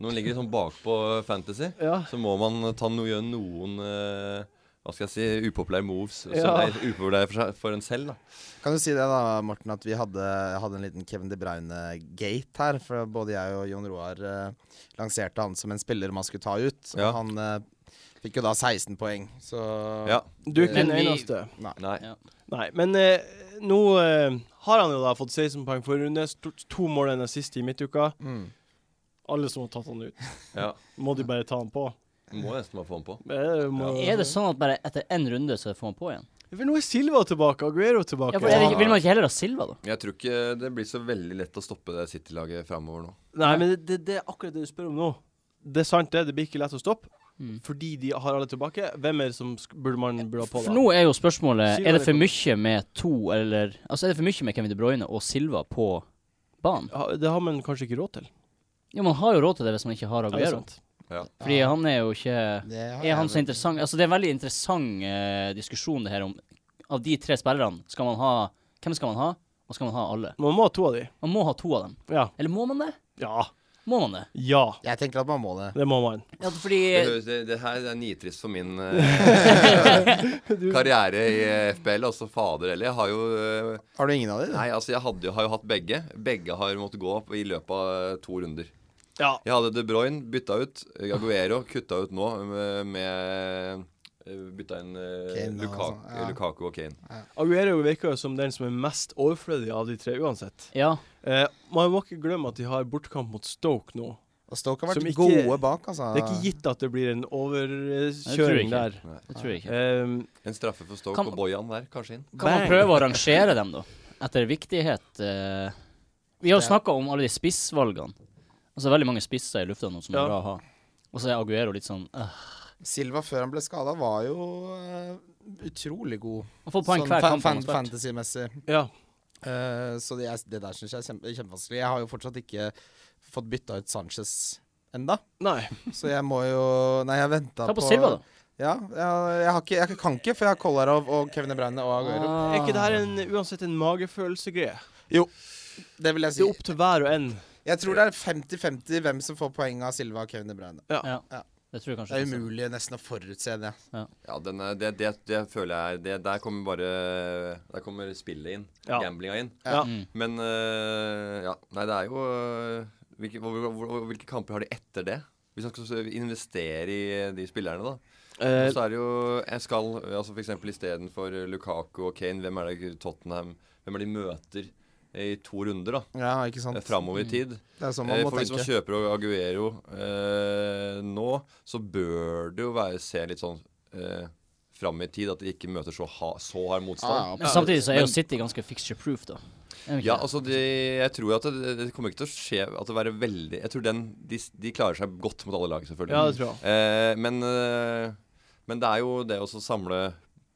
Speaker 4: Når man ligger litt sånn bakpå Fantasy,
Speaker 1: Ja.
Speaker 4: så må man ta no, gjøre noen eh, hva skal jeg si, upopulære moves som
Speaker 1: Ja.
Speaker 4: er upopulære for, seg- for en selv. da.
Speaker 3: Kan du si det da, Morten, at vi hadde, hadde en liten Kevin De Bruyne-gate her? For både jeg og Jon Roar eh, lanserte han som en spiller man skulle ta ut. Og
Speaker 4: Ja.
Speaker 3: han eh, fikk jo da 16 poeng, så
Speaker 4: Ja.
Speaker 1: Du er ikke
Speaker 2: Men
Speaker 1: den
Speaker 2: vi-
Speaker 1: eneste.
Speaker 4: Nei.
Speaker 2: Ja.
Speaker 1: Nei, men eh, nå eh, har han jo da fått 16 poeng for runde. Stort, to mål enn sist i midtuka.
Speaker 3: Mm.
Speaker 1: Alle som har tatt han ut,
Speaker 4: Ja.
Speaker 1: må de bare ta han på.
Speaker 4: Må nesten bare få den på.
Speaker 1: Eh, må,
Speaker 2: Er det sånn at bare etter én runde så får han på igjen?
Speaker 1: For nå er Silva tilbake, Aguero tilbake.
Speaker 2: Ja, for er det, ikke- vil man ikke heller ha Silva, da?
Speaker 4: Jeg tror ikke det blir så veldig lett å stoppe det City-laget framover nå.
Speaker 1: Nei, men det, det, det er akkurat det du spør om nå. Det er sant, det. Det blir ikke lett å stoppe.
Speaker 2: Mm.
Speaker 1: Fordi de har alle tilbake. Hvem er det som sk burde man burde ha på da?
Speaker 2: For nå er jo spørsmålet
Speaker 1: Silva
Speaker 2: Er det for
Speaker 1: eller-
Speaker 2: mye med to eller Altså er det for mye med Kevin De Bruyne og Silva på banen?
Speaker 1: Ja, det har man kanskje ikke råd til.
Speaker 2: Jo, man har jo råd til det hvis man ikke har
Speaker 1: Er det
Speaker 2: Aguero.
Speaker 1: sant?
Speaker 4: Ja.
Speaker 2: Fordi han er jo ikke
Speaker 3: Det har
Speaker 2: Er han
Speaker 3: jeg
Speaker 2: så
Speaker 3: vel-
Speaker 2: interessant Altså, det er en veldig interessant eh, diskusjon, det her om Av de tre spillerne, skal man ha Hvem skal man ha, og skal man ha alle?
Speaker 1: Man må ha to av de.
Speaker 2: Man må ha to av dem.
Speaker 1: Ja.
Speaker 2: Eller må man det?
Speaker 1: Ja.
Speaker 2: Må man det?
Speaker 1: Ja.
Speaker 3: Jeg tenker at man må det.
Speaker 1: Det må man.
Speaker 2: Ja, fordi
Speaker 4: Det, høres, det, det her er nitrist for min eh, karriere i FBL. Altså fader heller. Jeg har jo eh,
Speaker 3: Har du ingen av dem?
Speaker 4: Nei, altså jeg hadde, jo- har jo hatt begge. Begge har måttet gå opp i løpet av eh, to runder.
Speaker 1: Ja.
Speaker 4: Jeg hadde De Bruyne, bytta ut. eh,
Speaker 3: Ah.
Speaker 4: Aguero kutta ut nå med, med eh, Bytta inn eh,
Speaker 3: Kane og
Speaker 4: Lukaku,
Speaker 3: sånn, ja.
Speaker 4: Lukaku og Kane.
Speaker 1: Aguero virker jo som den som er mest overflødig av de tre uansett.
Speaker 2: Ja.
Speaker 1: Eh, man må ikke glemme at de har bortekamp mot Stoke nå.
Speaker 3: Og Stoke har
Speaker 1: Som
Speaker 3: vært
Speaker 1: ikke-
Speaker 3: gode bak, altså.
Speaker 1: Det er ikke gitt at det blir en overkjøring
Speaker 2: Nei,
Speaker 1: der.
Speaker 2: Det tror jeg ikke.
Speaker 1: Um,
Speaker 4: En straffe for Stoke
Speaker 2: Kan-
Speaker 4: og Bojan der, kanskje inn.
Speaker 2: Kan man
Speaker 1: Bang.
Speaker 2: prøve å rangere dem, da? Etter viktighet eh, Vi har jo snakka om alle de spissvalgene. Altså veldig mange spisser i lufta nå som
Speaker 1: Ja.
Speaker 2: er bra å ha. Og så er Aguero litt sånn øh.
Speaker 3: Silva før han ble skada, var jo eh, utrolig god.
Speaker 2: Han får poeng
Speaker 3: Sånn
Speaker 2: hver
Speaker 3: fa-
Speaker 2: kamp han
Speaker 3: fan-
Speaker 2: har spilt.
Speaker 3: fantasy-messig.
Speaker 1: ja.
Speaker 3: Eh, så det, er, det der syns jeg er kjempe, kjempevanskelig. Jeg har jo fortsatt ikke fått bytta ut Sanchez enda,
Speaker 1: Nei.
Speaker 3: så jeg må jo Nei, jeg venta
Speaker 2: Ta på Silva, da.
Speaker 3: Ja, jeg, jeg, har ikke, jeg kan ikke, for jeg har Kolarov og Kevin De Bruyne og Aguero.
Speaker 2: Ah.
Speaker 1: Er ikke det her en, uansett en magefølelsegreie?
Speaker 3: Det vil jeg
Speaker 1: Det
Speaker 3: si.
Speaker 1: er opp til hver og en.
Speaker 3: Jeg tror det er 50-50 hvem som får poeng av Silva og Kevin De Bruyne.
Speaker 2: Ja.
Speaker 3: Ja.
Speaker 2: Det tror jeg kanskje
Speaker 3: Det er
Speaker 2: ikke, så.
Speaker 3: umulig nesten å forutse det.
Speaker 4: Ja, den er, det, det, det føler jeg er- det, Der kommer bare Der kommer spillet inn.
Speaker 1: Ja.
Speaker 4: Gamblinga inn.
Speaker 1: Ja.
Speaker 2: Mm.
Speaker 4: Men øh, ja. Nei, det er jo øh, hvilke, hvor, hvor, hvor, Hvilke kamper har de etter det? Hvis man skal investere i de spillerne, da.
Speaker 1: Eh,
Speaker 4: Så er det jo jeg skal, altså For eksempel istedenfor Lukaku og Kane, hvem er det Tottenham Hvem er det de møter i to runder da?
Speaker 3: Ja, ikke sant.
Speaker 4: framover i tid?
Speaker 3: Det er sånn man
Speaker 4: Eh,
Speaker 3: må
Speaker 4: For hvis man
Speaker 3: tenke.
Speaker 4: kjøper Aguero eh, nå, så bør det jo være se litt sånn eh, fram i tid, at de ikke møter så, ha, så hard motstand.
Speaker 3: Ah, Ja,
Speaker 2: Men samtidig så er jo
Speaker 4: Men-
Speaker 2: City ganske fixture proof, da. Er de ikke
Speaker 4: Ja,
Speaker 2: det?
Speaker 4: altså de, Jeg tror at det, det kommer ikke til å skje At det være veldig Jeg tror den, de, de klarer seg godt mot alle lag, selvfølgelig.
Speaker 1: ja, det tror jeg.
Speaker 4: Eh, men, eh, men det er jo det å så samle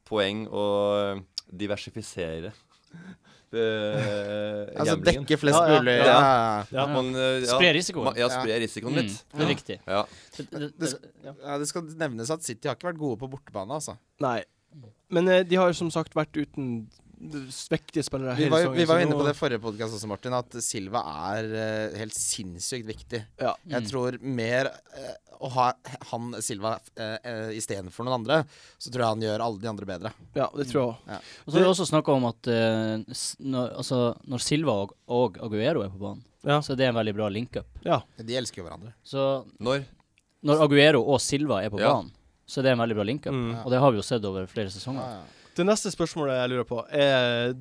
Speaker 4: poeng og diversifisere eh,
Speaker 3: Altså
Speaker 4: gamblingen.
Speaker 3: dekke flest
Speaker 1: Ja, ja,
Speaker 3: mulig.
Speaker 1: ja.
Speaker 3: Ja, ja.
Speaker 1: Ja.
Speaker 4: Man, eh, ja,
Speaker 2: Spre risikoen.
Speaker 4: ma- Ja, spre risikoen
Speaker 2: Mm,
Speaker 4: litt.
Speaker 2: det er riktig.
Speaker 4: Ja.
Speaker 2: Det, det,
Speaker 3: Det,
Speaker 2: det,
Speaker 3: sk- ja, det skal nevnes at City har ikke vært gode på bortebane, altså.
Speaker 1: Nei. Men eh, de har jo som sagt vært uten d- vektige spillere
Speaker 3: Vi
Speaker 1: hele
Speaker 3: var, jo-
Speaker 1: sesongen,
Speaker 3: vi var
Speaker 1: så
Speaker 3: jo inne på
Speaker 1: nå-
Speaker 3: det forrige podkast også, Martin, at Silva er eh, helt sinnssykt viktig.
Speaker 1: Ja.
Speaker 2: Mm.
Speaker 3: Jeg tror mer eh, å ha han Silva eh, eh, istedenfor noen andre, så tror jeg han gjør alle de andre bedre.
Speaker 1: Ja, det tror jeg òg.
Speaker 2: og så har vi også snakka om at eh, s- når, altså, når Silva og, og Aguero er på banen,
Speaker 1: Ja.
Speaker 2: så er det en veldig bra link-up.
Speaker 3: De elsker jo hverandre.
Speaker 2: Så
Speaker 4: Når?
Speaker 2: når Aguero og Silva er på
Speaker 4: Ja.
Speaker 2: banen, så er det en veldig bra link-up.
Speaker 1: Mm.
Speaker 2: Og det har vi jo sett over flere sesonger.
Speaker 1: Det neste spørsmålet jeg lurer på, er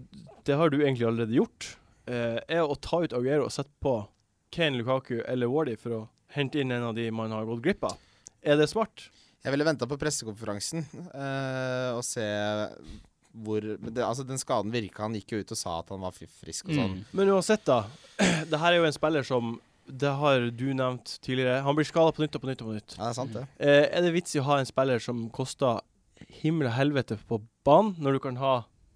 Speaker 1: Det har du egentlig allerede gjort. eh, Er å ta ut Aguero og sette på Kane Lukaku eller Wardy for å hente inn en av de man har gått glipp av. Er det smart?
Speaker 3: Jeg ville venta på pressekonferansen eh, og se hvor men det, Altså, den skaden virka. Han gikk jo ut og sa at han var fi- frisk og sånn.
Speaker 2: Mm.
Speaker 1: Men uansett, da. Det her er jo en spiller som Det har du nevnt tidligere. Han blir skada på nytt og på nytt og på nytt.
Speaker 3: Ja, det er sant, det.
Speaker 1: Eh, er det vits i å ha en spiller som koster himmel og helvete på banen, når du kan ha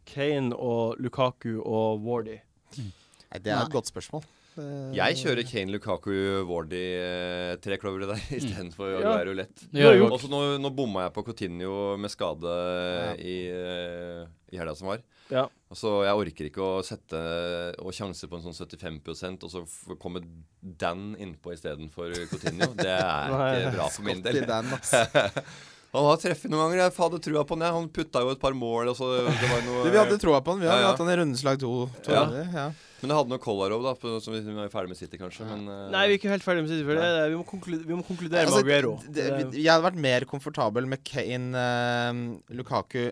Speaker 1: Kane og Lukaku og Wardy?
Speaker 3: Nei, det er et godt spørsmål. Eh,
Speaker 4: Jeg kjører Kane Lukaku Wardy eh, tre klovere der istedenfor
Speaker 1: Ja.
Speaker 4: Aguero lett.
Speaker 2: Det gjør
Speaker 1: Du
Speaker 2: jo
Speaker 1: har
Speaker 4: Og så Altså, nå, nå bomma jeg på Coutinho med skade i, eh, i helga som var.
Speaker 1: Ja.
Speaker 4: Og så Jeg orker ikke å sette og sjanse på en sånn 75 og så f- komme Dan innpå istedenfor Coutinho. Det er
Speaker 1: Nei.
Speaker 4: ikke bra for min
Speaker 3: Til
Speaker 4: del.
Speaker 3: Dan, ass.
Speaker 4: Han har treffet noen ganger. Jeg hadde trua på han. jeg. Han putta jo et par mål. Og så det var noe,
Speaker 3: Du, vi hadde troa på han. Vi har
Speaker 4: Ja,
Speaker 3: jo
Speaker 4: ja.
Speaker 3: hatt han i rundeslag to. to
Speaker 4: Ja.
Speaker 3: runder, ja.
Speaker 4: Men jeg hadde noe Kolarov, da, på, som vi vi er ferdig med City, kanskje. Men, eh,
Speaker 1: Nei, vi er ikke helt ferdig med City. For det, er- vi, må konklu- vi må konkludere
Speaker 3: Altså,
Speaker 1: med Aguero.
Speaker 3: d- d- jeg hadde vært mer komfortabel med Kane, eh, Lukaku,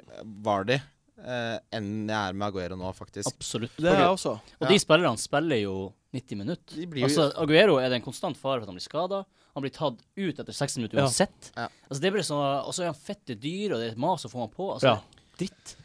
Speaker 3: Vardy eh, enn jeg er med Aguero nå, faktisk.
Speaker 2: Absolutt.
Speaker 1: det er jeg også.
Speaker 2: Og
Speaker 3: Ja.
Speaker 2: de spillerne spiller jo 90 minutter.
Speaker 3: De blir jo-
Speaker 2: Altså, Aguero er det en konstant fare for at han blir skada. Han blir tatt ut etter 60 minutter
Speaker 1: Ja.
Speaker 2: uansett.
Speaker 3: Ja.
Speaker 2: Altså, det er bare sånn, og så er han fette dyr, og det er et mas å få han på. Altså,
Speaker 1: Ja.
Speaker 2: Dritt.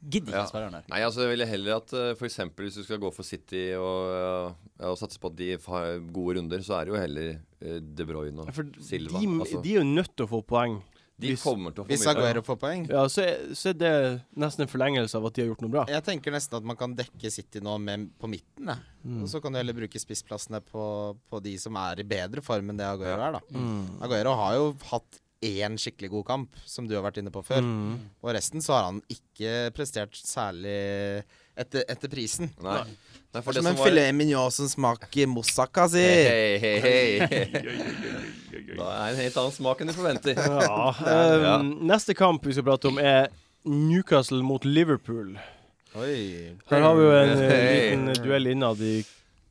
Speaker 2: Gidder ikke
Speaker 4: Ja.
Speaker 2: ja. spilleren der.
Speaker 4: Nei, altså jeg ville heller at eh, for eksempel hvis du skal gå for City og, eh, ja, og satse på at de har gode runder, så er det jo heller eh, De Bruyne og
Speaker 1: For
Speaker 4: Silva.
Speaker 1: de,
Speaker 4: altså.
Speaker 1: de er jo nødt til å få poeng.
Speaker 4: De
Speaker 1: Hvis-
Speaker 4: kommer til å få
Speaker 3: Hvis Aguero får poeng
Speaker 1: Ja, så er, så er det nesten en forlengelse av at de har gjort noe bra.
Speaker 3: Jeg tenker nesten at man kan dekke City nå med, på midten. jeg.
Speaker 4: Mm.
Speaker 3: Og så kan du heller bruke spissplassene på, på de som er i bedre form enn det Aguero er. da
Speaker 4: Mm.
Speaker 3: Aguero har jo hatt én skikkelig god kamp, som du har vært inne på før.
Speaker 4: Mm.
Speaker 3: Og resten så har han ikke prestert særlig etter, etter prisen.
Speaker 4: Nei. Nei, for det
Speaker 3: Det er som
Speaker 4: som
Speaker 3: en
Speaker 4: var
Speaker 3: filet mignon som smaker moussaka, si.
Speaker 4: Hei, hei, hei. Da er det en helt annen smak enn du forventer.
Speaker 1: Ja,
Speaker 4: Ja.
Speaker 1: ehm, Neste kamp vi skal prate om, er Newcastle mot Liverpool.
Speaker 3: Oi.
Speaker 1: Her har vi jo en eh,
Speaker 4: Hey.
Speaker 1: liten duell innad i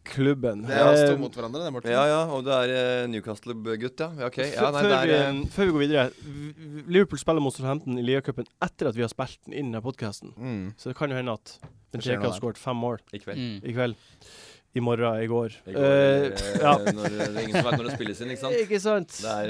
Speaker 1: klubben.
Speaker 3: Det er oss to
Speaker 1: Eh,
Speaker 3: mot hverandre, det, Morten.
Speaker 4: Ja, ja, og det er eh, Newcastle-gutt, ja. ja. Ok. Ja,
Speaker 1: Før
Speaker 4: nei,
Speaker 1: før
Speaker 4: det
Speaker 1: vi, ehm,
Speaker 4: er eh,
Speaker 1: før vi går videre v- v- Liverpool spiller mot Southampton i Liacupen etter at vi har spilt den inn i podkasten.
Speaker 3: Mm.
Speaker 1: Så det kan jo hende at
Speaker 3: skjer
Speaker 1: Benteke
Speaker 3: noe
Speaker 1: har
Speaker 3: der.
Speaker 1: skåret fem mål
Speaker 4: i kveld.
Speaker 2: Mm.
Speaker 1: i kveld. I morgen. I går.
Speaker 4: I går, eh,
Speaker 1: Eh, ja.
Speaker 4: når, det er ingen som vet når det spilles inn, ikke sant?
Speaker 1: Ikke sant?
Speaker 4: Det er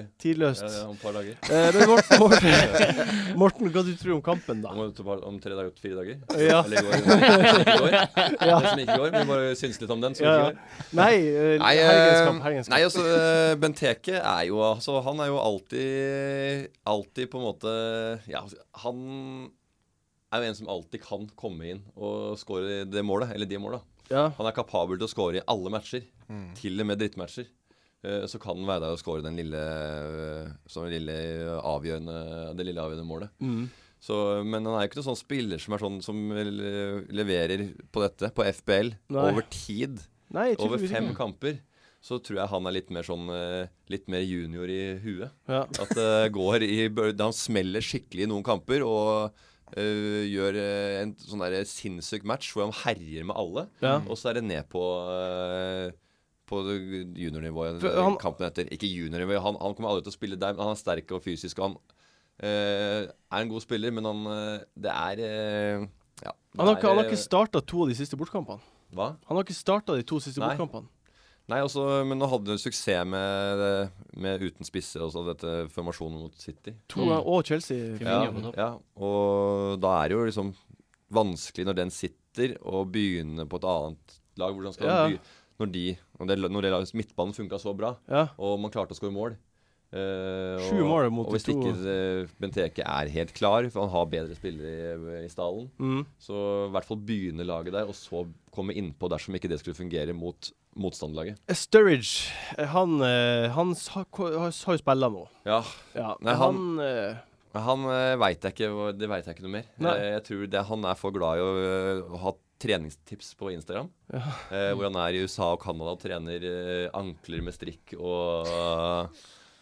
Speaker 4: eh,
Speaker 1: Tidløst.
Speaker 4: ja, det er om et par dager.
Speaker 1: Eh, men Morten, Morten, Morten, hva du tror om kampen, da?
Speaker 4: Om, et par- om tre dager, fire dager.
Speaker 1: Ja.
Speaker 4: Eller i går. Eller i går. Det som ikke går, men bare synse litt om den. Som
Speaker 1: Ja,
Speaker 4: ikke
Speaker 1: ja.
Speaker 4: går.
Speaker 1: Nei, eh,
Speaker 4: Nei,
Speaker 1: helgens
Speaker 4: eh,
Speaker 1: kamp. Helgens
Speaker 4: nei
Speaker 1: kamp.
Speaker 4: altså, eh, Benteke er jo altså, Han er jo alltid Alltid på en måte Ja, altså, han er jo en som alltid kan komme inn og skåre det målet, eller de måla.
Speaker 1: Ja.
Speaker 4: Han er kapabel til å skåre i alle matcher,
Speaker 1: Mm.
Speaker 4: til og med drittmatcher. Eh, Så kan han være der og skåre den lille, sånn lille avgjørende, det lille avgjørende målet.
Speaker 1: Mm.
Speaker 4: Så, men han er jo ikke noen sånn spiller som er sånn som le- leverer på dette, på FBL,
Speaker 1: Nei.
Speaker 4: over tid.
Speaker 1: Nei, jeg tror
Speaker 4: Over
Speaker 1: ikke vi-
Speaker 4: fem kamper. Så tror jeg han er litt mer sånn eh, Litt mer junior i huet.
Speaker 1: Ja.
Speaker 4: At det går i bø- Han smeller skikkelig i noen kamper og øh, gjør øh, en sånn der sinnssyk match hvor han herjer med alle.
Speaker 1: Ja.
Speaker 4: Og så er det ned på øh, På juniornivået
Speaker 1: For han-
Speaker 4: kampen etter. Ikke juniornivå, han, han kommer aldri til å spille der, men han er sterk og fysisk. Og han øh, er en god spiller, men han øh, Det er øh, ja, det
Speaker 1: Han har, ikke- han har
Speaker 4: er, eh,
Speaker 1: ikke starta to av de siste bortkampene.
Speaker 4: Hva?
Speaker 1: Han har ikke starta de to siste
Speaker 4: Nei.
Speaker 1: bortkampene.
Speaker 4: Nei, også, men nå hadde du suksess med, med uten spisser, altså dette formasjonen mot City.
Speaker 1: To
Speaker 2: Mm.
Speaker 1: ganger, og Chelsea.
Speaker 2: Firmino.
Speaker 4: Ja,
Speaker 2: på topp.
Speaker 4: ja, og da er det jo liksom vanskelig når den sitter, å begynne på et annet lag. Hvordan skal
Speaker 1: Ja.
Speaker 4: den begy- når de, når det, når det laget- midtbanen funka så bra,
Speaker 1: Ja.
Speaker 4: og man klarte å skåre mål eh,
Speaker 1: Sju mål mot
Speaker 4: og hvis
Speaker 1: de to.
Speaker 4: ikke eh, Benteke er helt klar, for han har bedre spillere i, i stallen,
Speaker 1: Mm.
Speaker 4: så i hvert fall begynne laget der, og så komme innpå dersom ikke det skulle fungere mot motstanderlaget.
Speaker 1: Sturridge, eh, han, eh, han sa- ko- har har jo spilla nå.
Speaker 4: Ja,
Speaker 1: Ja,
Speaker 4: Nei,
Speaker 1: han, eh,
Speaker 4: Men Han eh, veit jeg ikke hva- Det vet jeg ikke noe mer.
Speaker 1: Nei.
Speaker 4: Eh, Jeg tror det, Han er for glad i å, eh, å ha treningstips på Instagram. Eh, hvor han er i USA og Canada og trener eh, ankler med strikk og ja,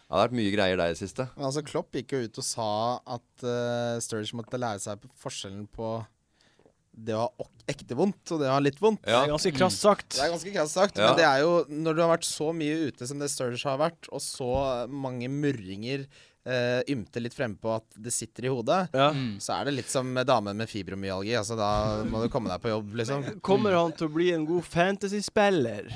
Speaker 4: Det har vært mye greier der i det siste.
Speaker 3: Men altså, Klopp gikk jo ut og sa at eh, Sturridge måtte lære seg p- forskjellen på det å ha ok- ekte vondt og det å ha litt vondt.
Speaker 1: Det
Speaker 4: Ja. Mm.
Speaker 1: er ganske krass sagt.
Speaker 3: Det er ganske krasst sagt,
Speaker 4: Ja.
Speaker 3: men det er jo når du har vært så mye ute som det Sturridge har vært, og så mange murringer eh, ymte litt frempå at det sitter i hodet,
Speaker 1: Ja.
Speaker 4: Mm.
Speaker 3: så er det litt som med damer med fibromyalgi. Altså, da må du komme deg på jobb, liksom.
Speaker 4: Mm.
Speaker 1: Kommer han til å bli en god fantasy-spiller?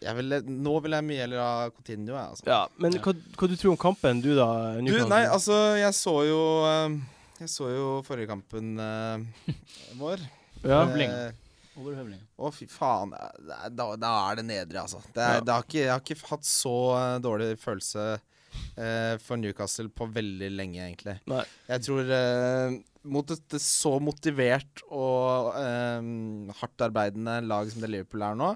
Speaker 3: Jeg ville- nå vil jeg mye heller ha Coutinho, jeg, altså.
Speaker 1: Ja, men hva, hva du tror om kampen, du da?
Speaker 3: Du,
Speaker 1: Newcastle?
Speaker 3: nei, altså, jeg så jo eh, Jeg så jo forrige kampen eh, vår.
Speaker 1: ja.
Speaker 2: Høvling.
Speaker 3: Eh,
Speaker 2: Overhøvling.
Speaker 3: Å, fy faen. det er- Da, da er det nedre, altså. Det er,
Speaker 1: Ja.
Speaker 3: det har ikke, jeg har ikke hatt så eh, dårlig følelse eh, for Newcastle på veldig lenge, egentlig.
Speaker 1: Nei.
Speaker 3: Jeg tror eh, mot et så motivert og eh, hardtarbeidende lag som det Liverpool er nå,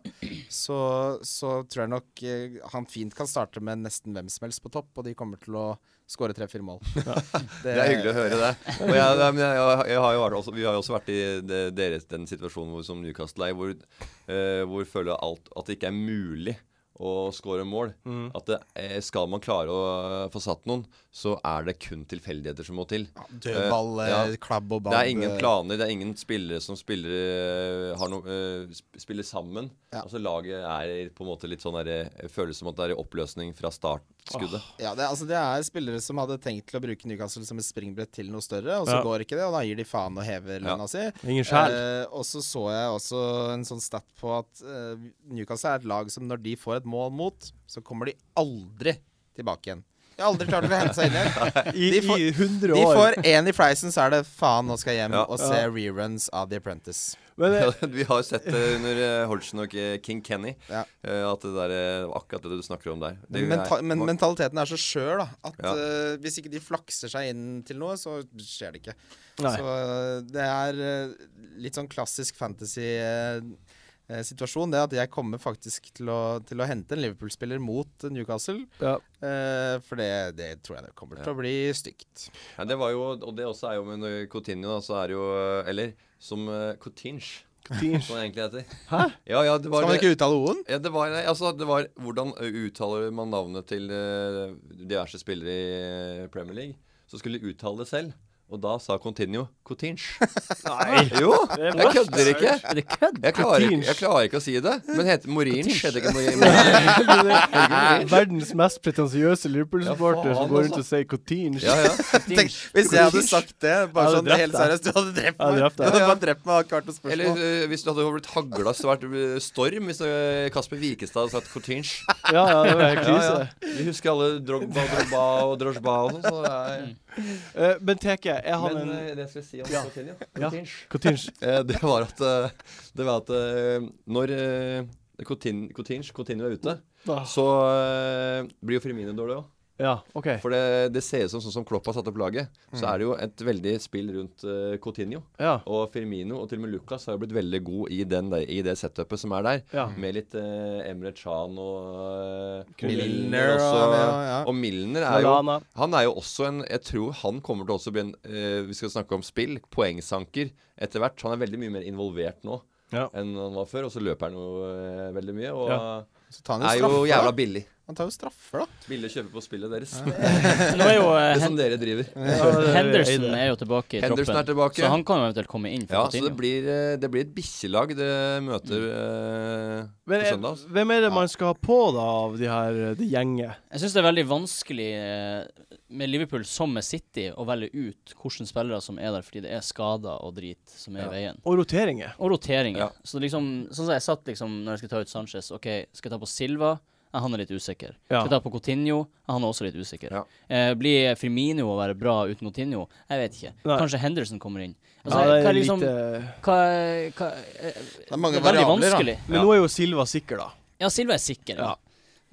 Speaker 3: så, så tror jeg nok eh, han fint kan starte med nesten hvem som helst på topp, og de kommer til å skåre tre-fire mål.
Speaker 4: Det er hyggelig å høre det. Og jeg, jeg, men jeg, jeg har jo vært også, vi har jo også vært i det, deres, den situasjonen hvor, som Newcastle er, hvor, eh, hvor føler jeg alt, at det ikke er mulig å skåre mål. At det, eh, skal man klare å eh, få satt noen, så er det kun tilfeldigheter som må til.
Speaker 3: Dødball,
Speaker 4: Eh, ja.
Speaker 3: eh, klabb og ball.
Speaker 4: Det er ingen
Speaker 3: eh,
Speaker 4: planer, det er ingen spillere som spiller, eh, har noe, eh, sp- spiller sammen.
Speaker 3: Ja.
Speaker 4: Altså Laget er på en måte litt sånn der, eh, føles som at det er i oppløsning fra startskuddet.
Speaker 3: Ja, det, er- altså det er spillere som hadde tenkt til å bruke Newcastle som et springbrett til noe større, og så
Speaker 1: Ja.
Speaker 3: går ikke det, og da gir de faen og hever
Speaker 4: Ja.
Speaker 3: lønna si.
Speaker 1: Ingen sjel.
Speaker 3: Eh, og så så jeg også en sånn stat på at eh, Newcastle er et lag som når de får et mål mot, så kommer de aldri tilbake igjen. Ja, aldri klart å hente seg inn igjen.
Speaker 1: I,
Speaker 3: De får-
Speaker 1: i 100
Speaker 3: De
Speaker 1: år.
Speaker 3: får én i fleisen, så er det faen, nå skal jeg hjem
Speaker 4: Ja.
Speaker 3: og se reruns av The Apprentice.
Speaker 1: Men eh,
Speaker 4: Ja, vi har jo sett det under eh, Hodgson og eh, King Kenny,
Speaker 3: Ja.
Speaker 4: eh, at det der eh, det var akkurat det du snakker om der. Det er-
Speaker 3: Menta men mentaliteten er så skjør, da. At
Speaker 4: Ja.
Speaker 3: eh, hvis ikke de flakser seg inn til noe, så skjer det ikke.
Speaker 1: Nei.
Speaker 3: Så eh, det er eh, litt sånn klassisk fantasy eh, eh, situasjon, det at jeg kommer faktisk til å, til å hente en Liverpool-spiller mot Newcastle.
Speaker 1: ja.
Speaker 3: eh, for det, det tror jeg det kommer til å bli stygt.
Speaker 4: ja, det var jo, og det også er jo med eh, Coutinho, da, så er det jo eh, Eller som eh, Coutinge, som han egentlig heter.
Speaker 1: Hæ?
Speaker 4: Ja, ja, det var
Speaker 3: Skal man
Speaker 4: det.
Speaker 3: ikke uttale O-en?
Speaker 4: Ja, det var, nei, altså, det var Hvordan eh, uttaler man navnet til eh, diverse spillere i eh, Premier League? Så skulle de uttale det selv. Og da sa Coutinho Coutinge. Nei! Jo! Jeg kødder ikke.
Speaker 2: Er det kødd?
Speaker 4: Jeg klarer, ikke-
Speaker 1: Coutinge.
Speaker 4: jeg klarer ikke å si det. Men heter Moringe. Heter ikke Moringe.
Speaker 1: eh, Verdens mest pretensiøse Liverpool-supporter
Speaker 4: Ja, faen,
Speaker 1: som går rundt
Speaker 4: altså.
Speaker 1: og sier Coutinge.
Speaker 4: Ja, ja.
Speaker 3: Tenk, hvis jeg hadde sagt det, bare
Speaker 1: Jeg hadde drept
Speaker 3: sånn helt
Speaker 1: deg.
Speaker 3: seriøst, du hadde drept
Speaker 1: Jeg hadde
Speaker 3: meg.
Speaker 1: drept
Speaker 3: Du
Speaker 1: deg.
Speaker 3: hadde bare drept meg akkurat på
Speaker 4: Eller
Speaker 3: spørsmål.
Speaker 4: eh, hvis du hadde blitt hagla svært eh, storm hvis eh, Kasper Wikestad hadde sagt Coutinge.
Speaker 1: Ja, ja, det var helt
Speaker 4: Ja,
Speaker 1: krise.
Speaker 4: ja. Vi husker alle Drogba, Drogba og Drogba og sånn. Så det er-
Speaker 1: Eh, men Teke, er han
Speaker 4: Men
Speaker 1: en
Speaker 4: eh, det skal jeg si om
Speaker 1: Ja.
Speaker 4: Coutinho.
Speaker 1: Ja.
Speaker 4: Coutinho.
Speaker 1: Coutinge?
Speaker 4: Eh, Det var at, eh, det var at eh, når eh, Coutin- Coutinho, Coutinho er ute,
Speaker 1: Ah,
Speaker 4: så eh, blir jo Firmino dårlig òg.
Speaker 1: Ja, OK.
Speaker 4: For det, det ser ut som sånn som Klopp har satt opp laget. Så er det jo et veldig spill rundt eh, Coutinho.
Speaker 1: Ja.
Speaker 4: Og Firmino og til og med Lucas har jo blitt veldig god i, den der, i det setupet som er der.
Speaker 1: Ja.
Speaker 4: Med litt eh, Emre Chan og eh,
Speaker 1: Milner
Speaker 4: Milner
Speaker 3: og-
Speaker 4: også.
Speaker 3: ja, ja.
Speaker 4: Og Milner er jo
Speaker 1: Lallana.
Speaker 4: Han er jo også en Jeg tror han kommer til også å bli en eh, Vi skal snakke om spill, poengsanker etter hvert. Han er veldig mye mer involvert nå
Speaker 1: Ja.
Speaker 4: enn han var før. Og så løper han jo eh, veldig mye. Og
Speaker 3: Så tar han
Speaker 4: er
Speaker 3: jo
Speaker 4: jo jævla
Speaker 3: straffer, da.
Speaker 4: billig.
Speaker 3: Han tar jo straffer, da.
Speaker 4: Billig å kjøpe på spillet deres.
Speaker 2: Nå er jo eh,
Speaker 4: Det som
Speaker 2: Hen
Speaker 4: dere driver.
Speaker 1: sånn-
Speaker 2: Henderson er jo tilbake i
Speaker 4: Henderson
Speaker 2: troppen,
Speaker 4: er tilbake.
Speaker 2: så han kan jo eventuelt komme inn for
Speaker 4: Ja, så
Speaker 2: Coutinho.
Speaker 4: det blir, eh, det blir et bikkjelag det møter eh,
Speaker 1: Men
Speaker 4: på søndag.
Speaker 1: er,
Speaker 4: altså.
Speaker 1: hvem er det man skal ha på, da, av de her eh, de gjenget?
Speaker 2: Jeg syns det er veldig vanskelig eh, med Liverpool som med City å velge ut hvilke spillere som er der, fordi det er skader og drit som er i
Speaker 4: Ja.
Speaker 2: veien.
Speaker 1: Og roteringer.
Speaker 2: Og roteringer.
Speaker 4: Ja.
Speaker 2: Så liksom, sånn som jeg satt liksom når jeg skulle ta ut Sanchez OK, skal jeg ta på Silva? Ja, han er litt usikker.
Speaker 1: Ja.
Speaker 2: Skal jeg ta på Coutinho? Ja, han er også litt usikker.
Speaker 4: Ja.
Speaker 2: Eh, blir Firmino å være bra uten Coutinho? Jeg vet ikke.
Speaker 1: Nei.
Speaker 2: Kanskje Henderson kommer inn.
Speaker 1: Ja,
Speaker 2: Altså,
Speaker 1: det
Speaker 2: hva
Speaker 1: er eh,
Speaker 2: er liksom,
Speaker 1: lite
Speaker 2: hva, er- hva, er-
Speaker 3: Det er mange
Speaker 2: det er veldig
Speaker 3: variabler, da.
Speaker 2: vanskelig.
Speaker 1: Men nå er jo Silva sikker, da.
Speaker 2: Ja, Silva er sikker.
Speaker 1: Ja.
Speaker 2: Ja.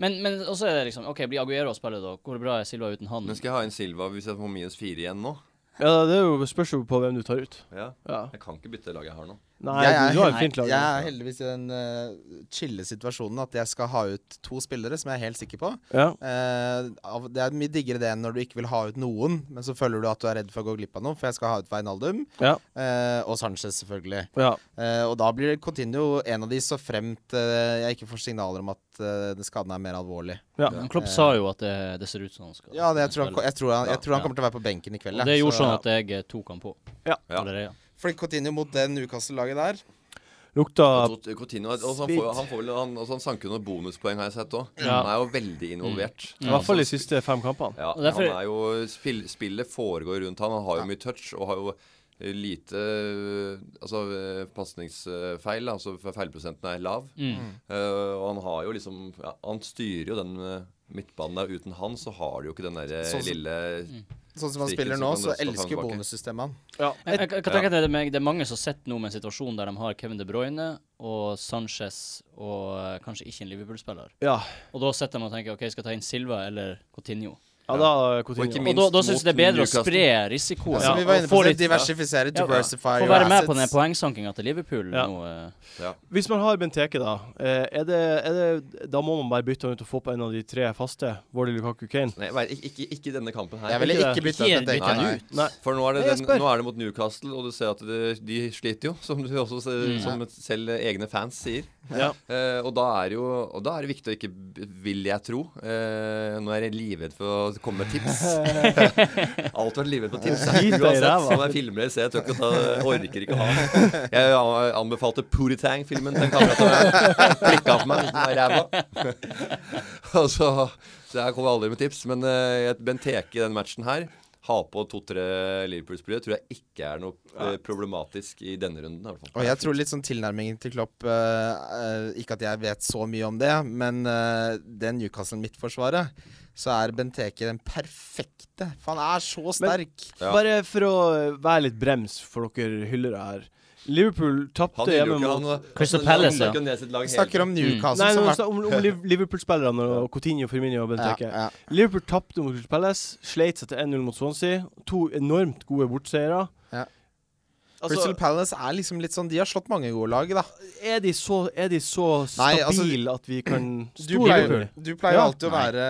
Speaker 2: Men, men også er det liksom OK, blir Aguero å spille da? Hvor bra er Silva uten han?
Speaker 4: Men skal jeg ha inn Silva hvis jeg får minus fire igjen nå?
Speaker 1: Ja, Det er jo spørs jo på hvem du tar ut.
Speaker 4: Ja.
Speaker 1: Ja.
Speaker 4: Jeg kan ikke bytte det laget jeg har nå.
Speaker 1: Nei,
Speaker 3: Jeg er
Speaker 1: du har
Speaker 3: hel-
Speaker 1: et fint lag.
Speaker 3: Jeg er heldigvis i den eh, chille situasjonen at jeg skal ha ut to spillere som jeg er helt sikker på.
Speaker 1: Ja.
Speaker 3: Eh, av- det er mye diggere det enn når du ikke vil ha ut noen, men så føler du at du er redd for å gå glipp av noe, for jeg skal ha ut Veinaldum
Speaker 1: Ja.
Speaker 3: eh, og Sanchez, selvfølgelig.
Speaker 1: ja.
Speaker 3: Eh, og da blir det Continuo en av de, så fremt eh, jeg ikke får signaler om at eh, skaden er mer alvorlig.
Speaker 1: ja.
Speaker 2: Men Klopp sa jo at det, det ser ut som han skal
Speaker 3: Ja, det, jeg, tror han,
Speaker 2: spille.
Speaker 3: jeg, tror han, jeg tror han
Speaker 2: Ja.
Speaker 3: kommer til å være på benken i
Speaker 2: Og
Speaker 3: kveld. jeg.
Speaker 2: det gjorde
Speaker 3: Så-
Speaker 2: sånn at jeg eh, tok han på.
Speaker 1: Ja.
Speaker 4: Ja.
Speaker 2: Allerede.
Speaker 3: Fordi Continuo mot det Newcastle-laget der
Speaker 1: Lukta
Speaker 4: Og Tot- Coutinho, altså, han, får,
Speaker 1: Spit.
Speaker 4: han, får, vel- han, altså, han sanker jo noen bonuspoeng, har jeg sett òg.
Speaker 1: Ja. Mm.
Speaker 4: Han er jo veldig involvert.
Speaker 1: I hvert fall de siste fem kampene.
Speaker 4: Ja,
Speaker 2: Og derfor-
Speaker 4: han er jo, spill, Spillet foregår rundt han Han har jo mye touch og har jo eh, lite eh, altså, eh, pasningsfeil. da, Altså fe- feilprosenten er lav.
Speaker 2: Mm.
Speaker 3: Mm.
Speaker 4: Eh, og han har jo liksom ja, Han styrer jo den eh, midtbanen der. Uten han så har du jo ikke den derre
Speaker 3: Sånn som-
Speaker 4: lille
Speaker 3: Sånn som han
Speaker 4: Stikker,
Speaker 3: spiller
Speaker 4: så
Speaker 3: nå,
Speaker 4: kan
Speaker 3: så
Speaker 4: det stå
Speaker 3: elsker
Speaker 4: frem og tilbake.
Speaker 3: bonussystemet han.
Speaker 1: Ja.
Speaker 2: Jeg, jeg, jeg kan tenke at det, er meg- det er mange som sitter nå med en situasjon der de har Kevin De Bruyne og Sanchez og eh, kanskje ikke en Liverpool-spiller.
Speaker 1: Ja.
Speaker 2: Og da sitter de og tenker OK, skal jeg ta inn Silva eller Coutinho?
Speaker 1: ja, da
Speaker 4: Og ikke
Speaker 1: Coutinho.
Speaker 2: Og
Speaker 4: minst
Speaker 2: da, da syns jeg det er
Speaker 4: mot
Speaker 2: bedre å
Speaker 4: Newcastle.
Speaker 2: spre risikoen.
Speaker 3: Ja, som vi var
Speaker 2: og
Speaker 3: inne på,
Speaker 2: få
Speaker 3: så
Speaker 2: litt Ja.
Speaker 3: diversifisere, diversify
Speaker 2: Få
Speaker 3: your
Speaker 2: være med
Speaker 3: assets.
Speaker 2: på den poengsankinga til Liverpool
Speaker 1: Ja.
Speaker 2: nå. eh.
Speaker 1: Hvis man har Benteke, da, eh, er det, er det, da må man bare bytte han ut og få på en av de tre faste? Vårdi Lukaku Kane?
Speaker 4: Nei, vær- ikke, ikke, ikke denne kampen her.
Speaker 3: Jeg ville
Speaker 1: Ikke
Speaker 3: ikke
Speaker 1: det.
Speaker 3: bytta ut
Speaker 2: Ikke
Speaker 3: den
Speaker 2: bytte den
Speaker 3: Nei.
Speaker 2: ut.
Speaker 1: Nei.
Speaker 4: For nå er,
Speaker 1: Nei,
Speaker 4: det
Speaker 1: jeg
Speaker 4: den,
Speaker 1: spør.
Speaker 4: nå er det mot Newcastle, og du ser at det, de sliter jo. Som, du også, ser-
Speaker 3: Mm.
Speaker 4: som selv egne fans sier.
Speaker 1: Ja.
Speaker 4: Eh, og, da er jo, og da er det viktig å ikke b- Vil jeg tro. Eh, nå er jeg livredd for å komme med tips. Alt vært livredd på tips.
Speaker 1: Drit deg i
Speaker 4: Uansett,
Speaker 1: ræva.
Speaker 4: som jeg filmer det, så jeg tør ikke å ta, orker ikke å ha det. Jeg an- anbefalte Puritang-filmen til en kamerat av meg. Klikka på meg uten å være ræva. Og så Så jeg kommer aldri med tips. Men uh, Benteke i den matchen her ha på to-tre Liverpool-spillere tror jeg ikke er noe eh, problematisk i denne runden. i hvert fall.
Speaker 3: Og jeg tror litt sånn tilnærmingen til Klopp eh, eh, Ikke at jeg vet så mye om det, men eh, det Newcastle-midtforsvaret så er Benteke den perfekte. For han er så sterk.
Speaker 4: Ja.
Speaker 1: Bare for å være litt brems for dere hyllere her. Liverpool
Speaker 4: Han
Speaker 1: tapte
Speaker 4: vil jo
Speaker 1: hjemme
Speaker 4: ikke
Speaker 1: mot
Speaker 4: han
Speaker 2: Crystal
Speaker 4: han
Speaker 2: Palace,
Speaker 4: snakker
Speaker 2: ja.
Speaker 4: jo ned sitt lag
Speaker 3: Vi
Speaker 4: hele
Speaker 3: snakker om Newcastle
Speaker 1: Mm. Nei,
Speaker 3: som
Speaker 1: men altså,
Speaker 3: har
Speaker 1: om, om Liv- Liverpool-spillerne og Coutinho, Firmino og Benteke.
Speaker 3: ja, ja.
Speaker 1: Liverpool tapte mot Crystal Palace, sleit seg til 1-0 mot Swansea. To enormt gode bortseiere.
Speaker 3: Ja.
Speaker 1: Altså,
Speaker 3: Crystal Palace er liksom litt sånn De har slått mange gode lag, da.
Speaker 1: er de så, er de så
Speaker 3: Nei,
Speaker 1: stabile
Speaker 3: altså,
Speaker 1: at vi kan
Speaker 3: Du
Speaker 1: stole på
Speaker 3: pleier,
Speaker 1: dem?
Speaker 3: du pleier
Speaker 1: Ja.
Speaker 3: alltid å være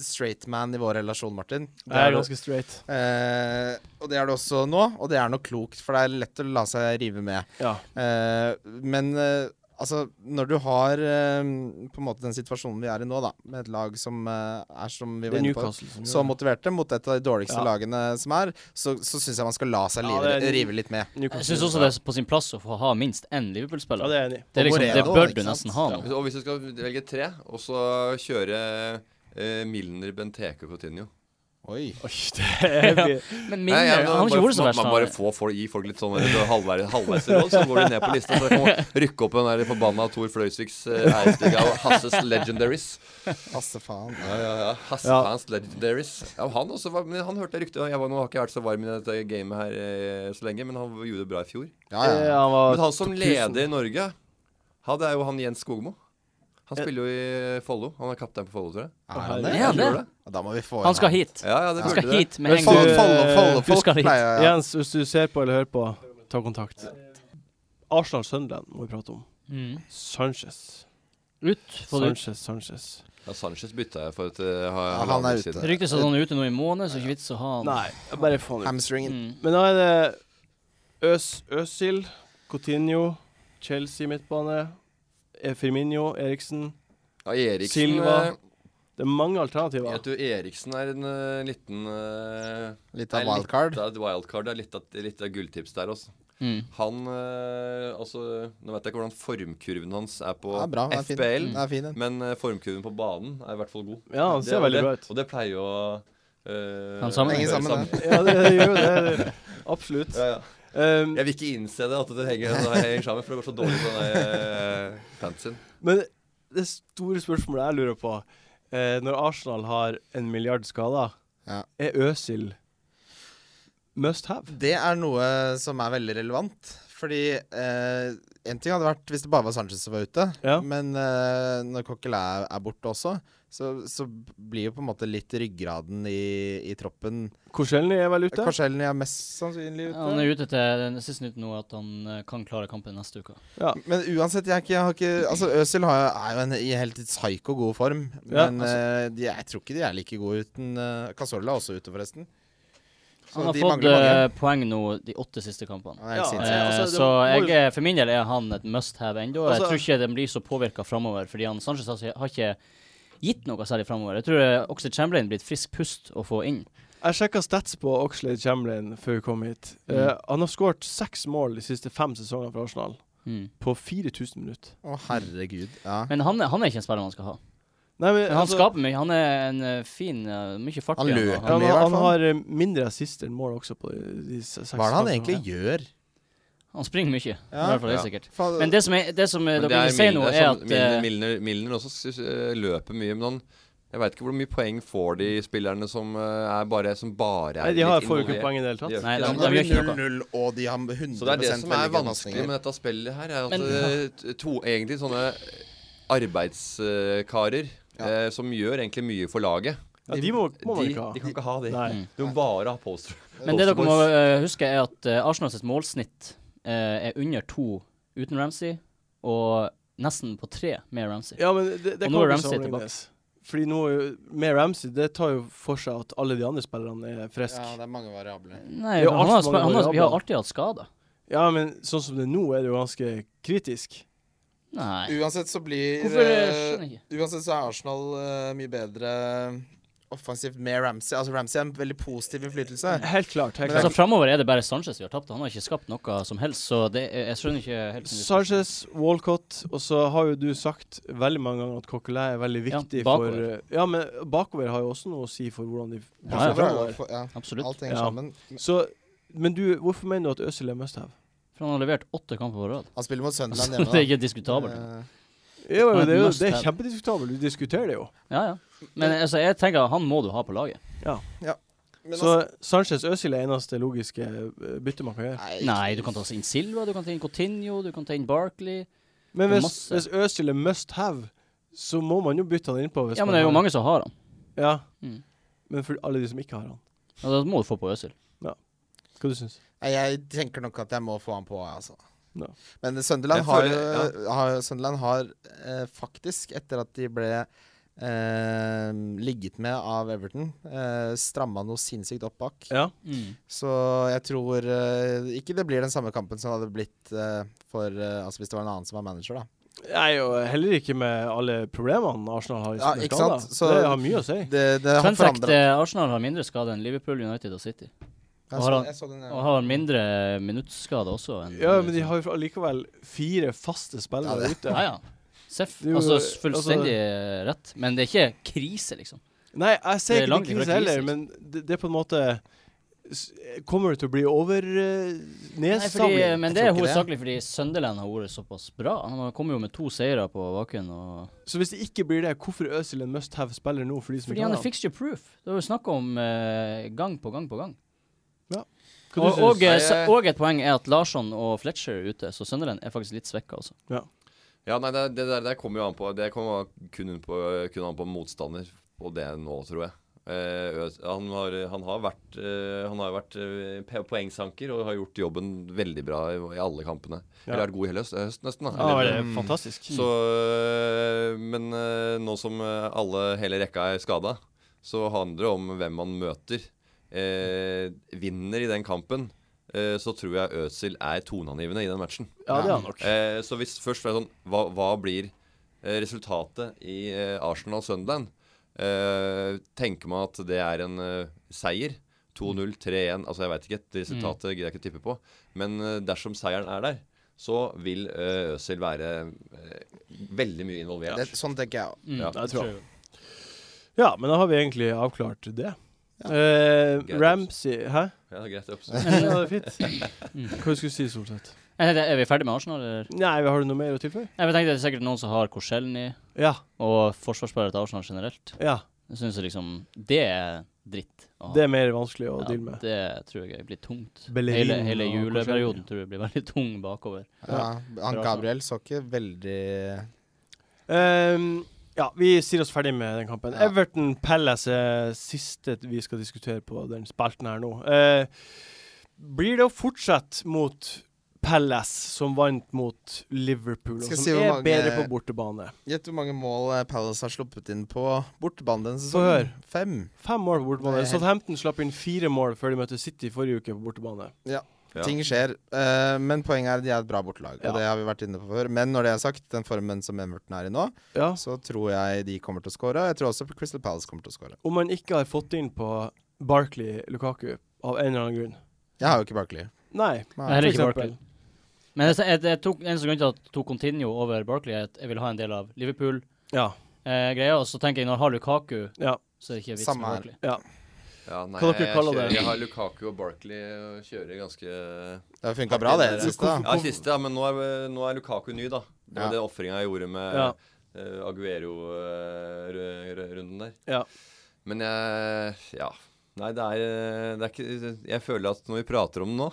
Speaker 3: straight man i vår relasjon, Martin. Det
Speaker 1: Jeg
Speaker 3: er
Speaker 1: er
Speaker 3: du.
Speaker 1: ganske straight.
Speaker 3: Eh, og det er det også nå, og det er noe klokt, for det er lett å la seg rive med.
Speaker 1: Ja.
Speaker 3: Eh, men eh, altså, når du har eh, på en måte den situasjonen vi er i nå, da, med et lag som eh, er som vi
Speaker 1: Det
Speaker 3: var
Speaker 1: er
Speaker 3: inne på,
Speaker 1: Newcastle som
Speaker 3: så
Speaker 1: gjør det.
Speaker 3: motiverte mot et av de dårligste
Speaker 1: Ja.
Speaker 3: lagene som er, så, så syns jeg man skal la seg
Speaker 1: Ja,
Speaker 3: live,
Speaker 1: det er-
Speaker 3: rive litt med.
Speaker 1: Newcastle.
Speaker 2: Jeg syns også det er på sin plass å få ha minst én
Speaker 1: Ja,
Speaker 2: Liverpool-spiller.
Speaker 1: det er jeg enig i.
Speaker 2: Det, er liksom, det
Speaker 3: Moreno,
Speaker 2: bør
Speaker 3: ikke
Speaker 2: du
Speaker 3: sant?
Speaker 2: nesten ha nå.
Speaker 4: Hvis- Og hvis du skal velge tre, og så kjøre eh, Milner, Benteke og Coutinho.
Speaker 3: Oi.
Speaker 1: Oi, det er heavy.
Speaker 2: Men
Speaker 4: Nei,
Speaker 2: Milner,
Speaker 4: jeg-
Speaker 2: han har
Speaker 4: bare-
Speaker 2: ikke vært så
Speaker 4: man-
Speaker 2: verst.
Speaker 4: Man
Speaker 2: han.
Speaker 4: bare får folk, gi folk litt sånn eh, halvveis, halvveis råd, så går de ned på lista. Så jeg kan rykke opp den der forbanna Tor Fløysviks eh, æresdiga og Hasses Legendaries.
Speaker 3: Hasse faen.
Speaker 4: Ja, ja, ja. Hasse
Speaker 1: Ja.
Speaker 4: fans Legendaries. Ja, han også var, men han hørte ryktet. og Jeg var, nå har ikke jeg vært så varm i dette gamet her eh, så lenge, men han gjorde det bra i fjor.
Speaker 3: Ja, ja.
Speaker 1: Ja, han var
Speaker 4: Men han som
Speaker 1: 2000.
Speaker 4: leder Norge, han, det er jo han Jens Skogmo. Han spiller jo i Follo. Han er kaptein på Follo, tror jeg.
Speaker 3: Er han
Speaker 2: Ja,
Speaker 3: det?
Speaker 2: det er
Speaker 4: Tror du
Speaker 2: det.
Speaker 4: det?
Speaker 3: Ja, Da må vi få
Speaker 2: Han skal
Speaker 3: inn
Speaker 2: hit.
Speaker 4: Ja, ja, det
Speaker 2: Han skal
Speaker 4: burde det.
Speaker 2: hit med en
Speaker 1: Men faen,
Speaker 2: gang.
Speaker 1: faen.
Speaker 2: Du skal
Speaker 3: Follo-folk
Speaker 2: hit.
Speaker 3: pleier ja.
Speaker 1: Jens, hvis du ser på eller hører på, ta kontakt. Arsenal-Sunderland må vi prate om.
Speaker 2: Mm.
Speaker 1: Sanchez.
Speaker 2: Ut. Få det ut.
Speaker 1: Sanchez, Sanchez.
Speaker 4: Ja, Sanchez bytta jeg for et eh, ha-
Speaker 3: Ja, han er
Speaker 4: halvannet år
Speaker 3: ute.
Speaker 4: siden.
Speaker 2: Det ryktes at han er ute nå i måned, så ikke vits å ha han.
Speaker 1: Nei, bare få han ut.
Speaker 3: hamstringen.
Speaker 2: Mm.
Speaker 1: Men da er det Øs, Øsil, Coutinho, Chelsea midtbane, eh, Firmino, Eriksen.
Speaker 4: Ja, Eriksen,
Speaker 1: Silva.
Speaker 4: eh,
Speaker 1: Det er mange alternativer.
Speaker 4: Vet du, Eriksen er en eh, liten eh,
Speaker 3: Litt
Speaker 4: det er
Speaker 3: av wildcard.
Speaker 4: Litt av et wildcard. Det er litt av, litt av gulltips der, altså.
Speaker 2: Mm.
Speaker 4: Han eh, Altså, nå vet jeg ikke hvordan formkurven hans er på
Speaker 3: Ja, bra, den er fin. Mm.
Speaker 4: FBL,
Speaker 3: Den er fin, den.
Speaker 4: men eh, formkurven på banen er i hvert fall god.
Speaker 1: Ja, han ser
Speaker 4: og
Speaker 1: veldig bra ut.
Speaker 4: Og det pleier jo å eh,
Speaker 2: Han sammen.
Speaker 3: Henger sammen,
Speaker 4: sammen.
Speaker 3: det.
Speaker 1: Ja, det, det gjør det. det- Absolutt.
Speaker 4: Ja, ja.
Speaker 1: Um,
Speaker 4: Jeg vil ikke innse det, at det henger, det henger sammen, for det går så dårlig på den uh, fantasyen.
Speaker 1: men det store spørsmålet jeg lurer på eh, Når Arsenal har en milliard skader,
Speaker 3: Ja.
Speaker 1: er Øsil must have?
Speaker 3: Det er noe som er veldig relevant. Fordi eh, en ting hadde vært hvis det bare var Sanchez som var ute.
Speaker 1: Ja.
Speaker 3: Men eh, når Coquelin er borte også, så, så blir jo på en måte litt ryggraden i, i troppen
Speaker 1: Korselny er vel ute?
Speaker 3: Korsellen er mest sannsynlig ute.
Speaker 2: Han er ute til den siste nytt nå at han eh, kan klare kampen neste uke.
Speaker 1: Ja.
Speaker 3: Men uansett, jeg, er ikke, jeg har ikke Altså, Øzil har, er jo en, i helt psyko god form.
Speaker 1: Ja, altså.
Speaker 3: Men eh, de, jeg tror ikke de er like gode uten uh, Casorla er også ute, forresten. Så
Speaker 2: Han har
Speaker 3: de
Speaker 2: fått
Speaker 3: mangler mange.
Speaker 2: eh, poeng nå de åtte siste kampene.
Speaker 3: Han er helt
Speaker 1: Ja.
Speaker 3: sinnssyk.
Speaker 2: Eh,
Speaker 1: altså, det
Speaker 2: så
Speaker 1: må-
Speaker 2: jeg, er- for min del er han et must have ennå. Jeg
Speaker 1: Altså-
Speaker 2: tror ikke den blir så påvirka framover, fordi han Sanchez har ikke- har ikke gitt noe særlig framover. Jeg tror eh, Oxlade Chamberlain blir et friskt pust å få inn.
Speaker 1: Jeg sjekka stats på Oxlade Chamberlain før vi kom hit. Eh, han har skåret seks mål de siste fem sesongene for Arsenal,
Speaker 2: Mm.
Speaker 1: på 4000 minutter.
Speaker 3: Å, herregud. Ja.
Speaker 2: Men han, er- han er ikke en spiller man skal ha.
Speaker 1: Nei, men, altså,
Speaker 2: Men han skaper mye. Han er en eh, fin eh, Mye fart
Speaker 3: Han
Speaker 2: i
Speaker 3: løper
Speaker 2: han.
Speaker 1: han,
Speaker 3: mye, i hvert
Speaker 1: han
Speaker 3: fall.
Speaker 1: har eh, mindre assister enn mål også på de- de se- seks
Speaker 3: Hva er det han
Speaker 1: kampene.
Speaker 3: egentlig gjør?
Speaker 2: Han springer mye.
Speaker 3: Ja.
Speaker 2: I hvert fall det
Speaker 4: Ja.
Speaker 2: er sikkert.
Speaker 3: Faen,
Speaker 2: Men det som, er, det som eh,
Speaker 4: Men det
Speaker 2: dere
Speaker 4: er
Speaker 2: ikke sier nå,
Speaker 4: Milner,
Speaker 2: er
Speaker 4: sånn,
Speaker 2: at
Speaker 4: Milner,
Speaker 2: eh,
Speaker 4: Milner, Milner også sy- sy- løper mye, men han jeg veit ikke hvor mye poeng får de spillerne som eh, er bare som bare er
Speaker 1: Nei, de har
Speaker 4: litt
Speaker 1: får jo ikke
Speaker 4: involvert.
Speaker 1: poeng i det hele tatt.
Speaker 4: De gjør ikke
Speaker 2: Nei, de-
Speaker 4: det.
Speaker 2: de-
Speaker 3: det
Speaker 2: gjør
Speaker 3: blir
Speaker 2: ikke noe.
Speaker 3: 0-0, og de har 100
Speaker 4: Så det er det som er
Speaker 3: velger
Speaker 1: altså.
Speaker 4: vanskelig
Speaker 3: pasninger.
Speaker 4: med dette spillet her, er at
Speaker 2: Men-
Speaker 4: eh, t- to, egentlig sånne arbeidskarer
Speaker 3: Ja.
Speaker 4: eh, som gjør egentlig mye for laget.
Speaker 1: Ja, de må, må man
Speaker 4: de,
Speaker 1: ikke
Speaker 4: de
Speaker 1: ha.
Speaker 4: kan ikke ha det.
Speaker 1: Nei.
Speaker 2: Mm.
Speaker 4: Du må bare ha poster.
Speaker 2: Men det dere må
Speaker 4: posterboys.
Speaker 2: eh, huske, er at eh, Arsenal sitt målsnitt eh, er under to uten Ramsey, og nesten på tre med Ramsey.
Speaker 1: Ja, men det, det
Speaker 2: Og
Speaker 1: kan
Speaker 2: nå er
Speaker 1: ikke
Speaker 2: Ramsey
Speaker 1: sammenlignes. Fordi nå er jo- med Ramsey, det tar jo for seg at alle de andre spillerne er friske.
Speaker 3: Ja,
Speaker 1: Ja,
Speaker 3: det er mange variabler.
Speaker 2: Nei,
Speaker 1: Det er jo
Speaker 2: han har,
Speaker 1: alt som
Speaker 2: sp- han har,
Speaker 1: variabler.
Speaker 2: vi har alltid hatt skader.
Speaker 1: men sånn som det er nå, er det jo ganske kritisk.
Speaker 2: Nei.
Speaker 3: Uansett så blir
Speaker 2: Hvorfor eh,
Speaker 3: eh,
Speaker 2: skjønner jeg ikke?
Speaker 3: Uansett så er Arsenal eh, mye bedre eh, offensivt med Ramsey. Altså Ramsey er en veldig positiv innflytelse.
Speaker 1: Helt klart. helt
Speaker 3: Mm. Men
Speaker 2: Altså,
Speaker 1: klart.
Speaker 2: Framover er det bare Sanchez vi har tapt. Han har ikke skapt noe som helst, så det, er- jeg skjønner ikke helt
Speaker 1: Sanchez, Walcott, og så har jo du sagt veldig mange ganger at Coquelin er veldig
Speaker 2: Ja,
Speaker 1: viktig for eh,
Speaker 2: bakover.
Speaker 1: Ja, men bakover har jo også noe å si for hvordan de
Speaker 2: Ja,
Speaker 1: passer
Speaker 2: ja.
Speaker 1: fremover.
Speaker 3: ja.
Speaker 2: Absolutt.
Speaker 3: Alt henger
Speaker 1: Ja.
Speaker 3: sammen.
Speaker 1: Så Men du, hvorfor mener du at Øzil er must have?
Speaker 2: For han har levert åtte kamper på rad.
Speaker 3: Han spiller mot Sunderland
Speaker 2: Så Altså, det er
Speaker 3: hjemme.
Speaker 2: ikke diskutabelt.
Speaker 3: Eh,
Speaker 1: Jo, jo,
Speaker 2: Han er
Speaker 1: det, er jo,
Speaker 2: must
Speaker 1: det er
Speaker 2: have.
Speaker 1: kjempediskutabelt. Du diskuterer det jo.
Speaker 2: Ja, ja. Men altså, jeg tenker han må du ha på laget.
Speaker 3: Men
Speaker 1: Så Sanchez Øzil er eneste logiske eh, bytte man kan gjøre.
Speaker 3: altså,
Speaker 2: Nei, du kan ta inn Silva, du kan ta inn Coutinho, du kan ta inn Barkley.
Speaker 1: Men
Speaker 2: det er
Speaker 1: hvis,
Speaker 2: masse.
Speaker 1: hvis Øzil er must have, så må man jo bytte han innpå. Hvis
Speaker 2: Ja,
Speaker 1: man
Speaker 2: men det er jo
Speaker 1: har-
Speaker 2: mange som har han.
Speaker 1: Ja.
Speaker 2: Mm.
Speaker 1: Men for alle de som ikke har han.
Speaker 2: Ja, da må du få på Øsil.
Speaker 1: Hva du syns
Speaker 3: Nei, Jeg tenker nok at jeg må få han på, altså.
Speaker 1: Ja.
Speaker 3: Men Sunderland
Speaker 4: Jeg
Speaker 3: har,
Speaker 4: føler-
Speaker 3: jo- har, Sunderland har eh, faktisk, etter at de ble eh, ligget med av Everton, eh, stramma noe sinnssykt opp bak.
Speaker 1: Ja.
Speaker 3: Så jeg tror eh, ikke det blir den samme kampen som hadde blitt eh, for eh, Altså hvis det var en annen som var manager, da.
Speaker 1: Jeg er jo heller ikke med alle problemene Arsenal har i
Speaker 3: Ja,
Speaker 1: sine
Speaker 3: ikke
Speaker 1: skader.
Speaker 3: sant? Så-
Speaker 1: det har mye å si.
Speaker 3: Det, det har
Speaker 2: Fun fact,
Speaker 3: forandra
Speaker 2: eh, Arsenal har mindre skade enn Liverpool, United og City.
Speaker 3: Jeg så- jeg så den, ja.
Speaker 2: Og har mindre minuttskade også. Enn
Speaker 1: Ja, men de har jo allikevel fire faste spillere
Speaker 3: Ja, det-
Speaker 1: ute.
Speaker 2: Ja, ja. Seff.
Speaker 1: Det er jo-
Speaker 2: Altså s- fullstendig eh, rett. Men det er ikke krise, liksom.
Speaker 1: Nei, jeg
Speaker 2: Det er
Speaker 1: ser ikke
Speaker 2: langt
Speaker 1: det
Speaker 2: ifra
Speaker 1: krise altså. heller,
Speaker 2: krise.
Speaker 1: men det, det er på en måte s- Kommer det til å bli over eh,
Speaker 2: Nei, fordi, eh,
Speaker 1: nedsamling?
Speaker 2: men
Speaker 3: Jeg
Speaker 2: det er
Speaker 3: tror ikke
Speaker 2: hovedsakelig fordi Sunderland har vært såpass bra. Han har- kommer jo med to seire på baken. Og
Speaker 1: Så hvis det ikke blir det, hvorfor er Øzil en must have spiller nå? For de som
Speaker 2: fordi
Speaker 1: ikke
Speaker 2: han
Speaker 1: har
Speaker 2: er fixture proof. Det har vi snakka om eh, gang på gang på gang.
Speaker 1: Hva
Speaker 2: Og,
Speaker 1: du syns?
Speaker 2: og, eh,
Speaker 4: Nei,
Speaker 2: sa-
Speaker 4: jeg-
Speaker 2: og et poeng er at Larsson og Fletcher er ute, så Sunderland er faktisk litt svekka. Altså.
Speaker 4: Ja, nei, det, det der, der kommer jo an på Det kommer kun, an på, kun an på motstander, og det nå, tror jeg. Eh, Øs- han, har, han har vært, eh, han har vært eh, pe- poengsanker og har gjort jobben veldig bra i, i alle kampene.
Speaker 1: Ja.
Speaker 4: Eller vært god i hele høst, høst nesten. Da.
Speaker 1: ja, det
Speaker 4: Eller-
Speaker 1: er fantastisk.
Speaker 4: Så, øh, men øh, nå som øh, alle, hele rekka er skada, så handler det om hvem man møter. Eh, vinner i den kampen, eh, så tror jeg Øzil er toneangivende i den matchen.
Speaker 1: Ja, det er han nok.
Speaker 4: Eh, så hvis først var det sånn Hva, hva blir eh, resultatet i eh, Arsenal-Sunderland? Eh, tenker man at det er en eh, seier? 2-0, 3-1 Altså, jeg veit ikke. et Resultatet greier jeg ikke å tippe på. Men eh, dersom seieren er der, så vil eh, Øzil være eh, veldig mye involvert.
Speaker 3: det, Sånn tenker jeg òg.
Speaker 4: Ja.
Speaker 1: Jeg tror jeg. Ja, men da har vi egentlig avklart det. Eh,
Speaker 4: Greit.
Speaker 1: Ramsey Hæ?
Speaker 4: Ja, det er greit opp.
Speaker 1: Ja, det er fint.
Speaker 2: Mm.
Speaker 1: Hva skulle du si, Solseth?
Speaker 2: Er, det- er vi ferdig med Arsenal, eller?
Speaker 1: Nei, har du noe mer å tilføye?
Speaker 2: Jeg tenkte det er sikkert noen som har Korselny
Speaker 1: Ja.
Speaker 2: og forsvarsspillere til Arsenal generelt.
Speaker 1: ja.
Speaker 2: Jeg synes liksom Det er dritt. å ha.
Speaker 1: Det er mer vanskelig å
Speaker 2: Ja,
Speaker 1: deale med.
Speaker 2: Det tror jeg blir tungt.
Speaker 1: Bellerin
Speaker 2: hele hele
Speaker 1: og
Speaker 2: juleperioden
Speaker 1: Korselny.
Speaker 2: tror jeg blir veldig tung bakover.
Speaker 3: Ja, han
Speaker 2: Bra. altså.
Speaker 3: Gabriel så ikke veldig
Speaker 1: Ehm, ja, vi sier oss ferdig med den kampen.
Speaker 3: Ja.
Speaker 1: Everton Palace er siste vi skal diskutere på den spalten her nå. Eh, blir det å fortsette mot Palace, som vant mot Liverpool, og
Speaker 3: Skal
Speaker 1: som
Speaker 3: si hvor
Speaker 1: er
Speaker 3: mange-
Speaker 1: bedre på bortebane?
Speaker 3: Gjett hvor mange mål eh, Palace har sluppet inn på bortebane denne
Speaker 1: Få
Speaker 3: sesongen. Fem.
Speaker 1: Fem mål på bortebane.
Speaker 3: Nei.
Speaker 1: Southampton slapp inn fire mål før de møtte City forrige uke på bortebane.
Speaker 4: Ja.
Speaker 3: Ting skjer. eh, men poenget er at de er et bra bortelag,
Speaker 1: Ja.
Speaker 3: og det har vi vært inne på før. Men når det er sagt, den formen som Everton er i nå,
Speaker 1: Ja.
Speaker 3: så tror jeg de kommer til å score. Jeg tror også Crystal Palace kommer til å score.
Speaker 1: Om man ikke har fått inn på Barkley Lukaku av en eller annen grunn.
Speaker 3: Jeg har jo ikke Barkley.
Speaker 1: Nei,
Speaker 3: Nei.
Speaker 1: for
Speaker 2: Heller ikke
Speaker 1: eksempel.
Speaker 2: Barkley. Men jeg, jeg, jeg tok, eneste grunn til at jeg tok Continuo over Barkley, er at jeg vil ha en del av Liverpool-greia.
Speaker 1: Ja.
Speaker 2: og så tenker jeg når jeg har Lukaku,
Speaker 1: ja.
Speaker 2: så er det ikke vits
Speaker 3: Samme
Speaker 2: med
Speaker 3: her.
Speaker 2: Barkley.
Speaker 4: Ja, nei,
Speaker 1: Hva dere
Speaker 4: jeg,
Speaker 1: kaller
Speaker 4: kjører,
Speaker 1: det?
Speaker 4: jeg har Lukaku og Barkley og kjører ganske
Speaker 3: Det har funka bra, det, i det siste. da.
Speaker 4: Ja, siste, ja, men nå er, nå er Lukaku ny, da. Det var
Speaker 3: Ja.
Speaker 4: den ofringa jeg gjorde med
Speaker 1: Ja.
Speaker 4: eh, Aguero-runden der.
Speaker 1: Ja.
Speaker 4: Men jeg Ja. Nei, det er, eh, det er ikke Jeg føler at når vi prater om det nå,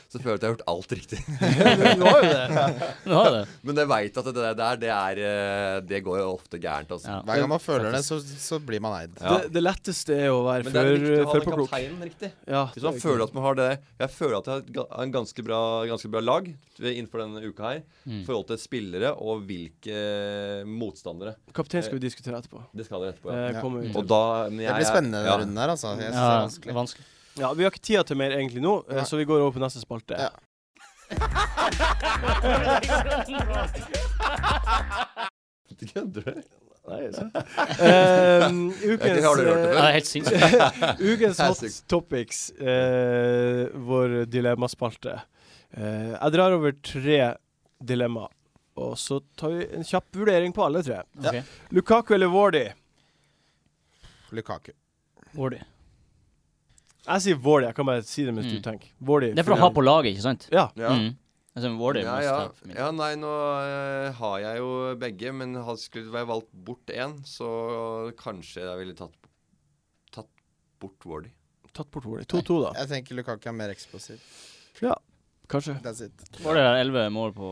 Speaker 4: så føler jeg at jeg har gjort alt riktig.
Speaker 1: Du har jo det.
Speaker 2: Du har det.
Speaker 4: Men jeg veit at det der, det, er, eh, det går jo ofte gærent, altså.
Speaker 2: Ja.
Speaker 3: Hver gang man føler det, så, så blir man eid.
Speaker 4: Ja.
Speaker 1: Det, det letteste er å være
Speaker 4: Men det er viktig å ha den
Speaker 1: førpåklok.
Speaker 4: kapteinen riktig.
Speaker 1: Ja,
Speaker 4: Hvis man føler at man har det Jeg føler at jeg har et ga- en ganske bra, ganske bra lag innenfor denne uka her. I
Speaker 2: Mm.
Speaker 4: forhold til spillere og hvilke motstandere.
Speaker 1: Kaptein skal vi diskutere etterpå.
Speaker 4: Det skal dere etterpå.
Speaker 1: Eh,
Speaker 3: Ja.
Speaker 1: kommer vi
Speaker 4: Og
Speaker 1: til.
Speaker 4: da, men
Speaker 3: Det
Speaker 4: jeg,
Speaker 3: blir spennende
Speaker 4: ja.
Speaker 3: denne runden her, altså. Jeg synes det
Speaker 2: Ja,
Speaker 3: er
Speaker 2: det
Speaker 3: vanskelig.
Speaker 2: er vanskelig.
Speaker 1: Ja, vi har ikke tida til mer egentlig nå, eh,
Speaker 3: Nei.
Speaker 1: så vi går over på neste spalte.
Speaker 3: Ja.
Speaker 4: Kødder du?
Speaker 1: Nei, så. Eh, ukens, eh,
Speaker 4: Jeg har aldri hørt det
Speaker 2: Ja,
Speaker 4: før.
Speaker 2: det er helt sinnssykt.
Speaker 1: ukens
Speaker 4: Her er
Speaker 1: hot
Speaker 4: sykt.
Speaker 1: topics, eh, vår dilemmaspalte. Eh, jeg drar over tre dilemma, og så tar vi en kjapp vurdering på alle tre.
Speaker 2: Ok.
Speaker 1: Lukaku eller Wardy?
Speaker 3: Lukaku.
Speaker 2: Wardy.
Speaker 1: Jeg sier Wardy, jeg kan bare si det mens du
Speaker 2: Mm.
Speaker 1: tenker. Wardy.
Speaker 2: Det er for å ha på laget, ikke sant?
Speaker 1: Ja.
Speaker 4: Ja.
Speaker 2: Mm. Altså, Warder
Speaker 4: ja,
Speaker 2: must
Speaker 4: ja.
Speaker 2: have for min.
Speaker 4: ja, nei, nå eh, har jeg jo begge, men hadde skulle jeg valgt bort én, så kanskje jeg ville tatt, tatt bort Wardy.
Speaker 1: Tatt bort Wardy. 2-2, da.
Speaker 3: Jeg tenker Lukaku er mer eksplosiv.
Speaker 1: Ja, kanskje.
Speaker 3: That's it.
Speaker 2: Warder har 11 mål på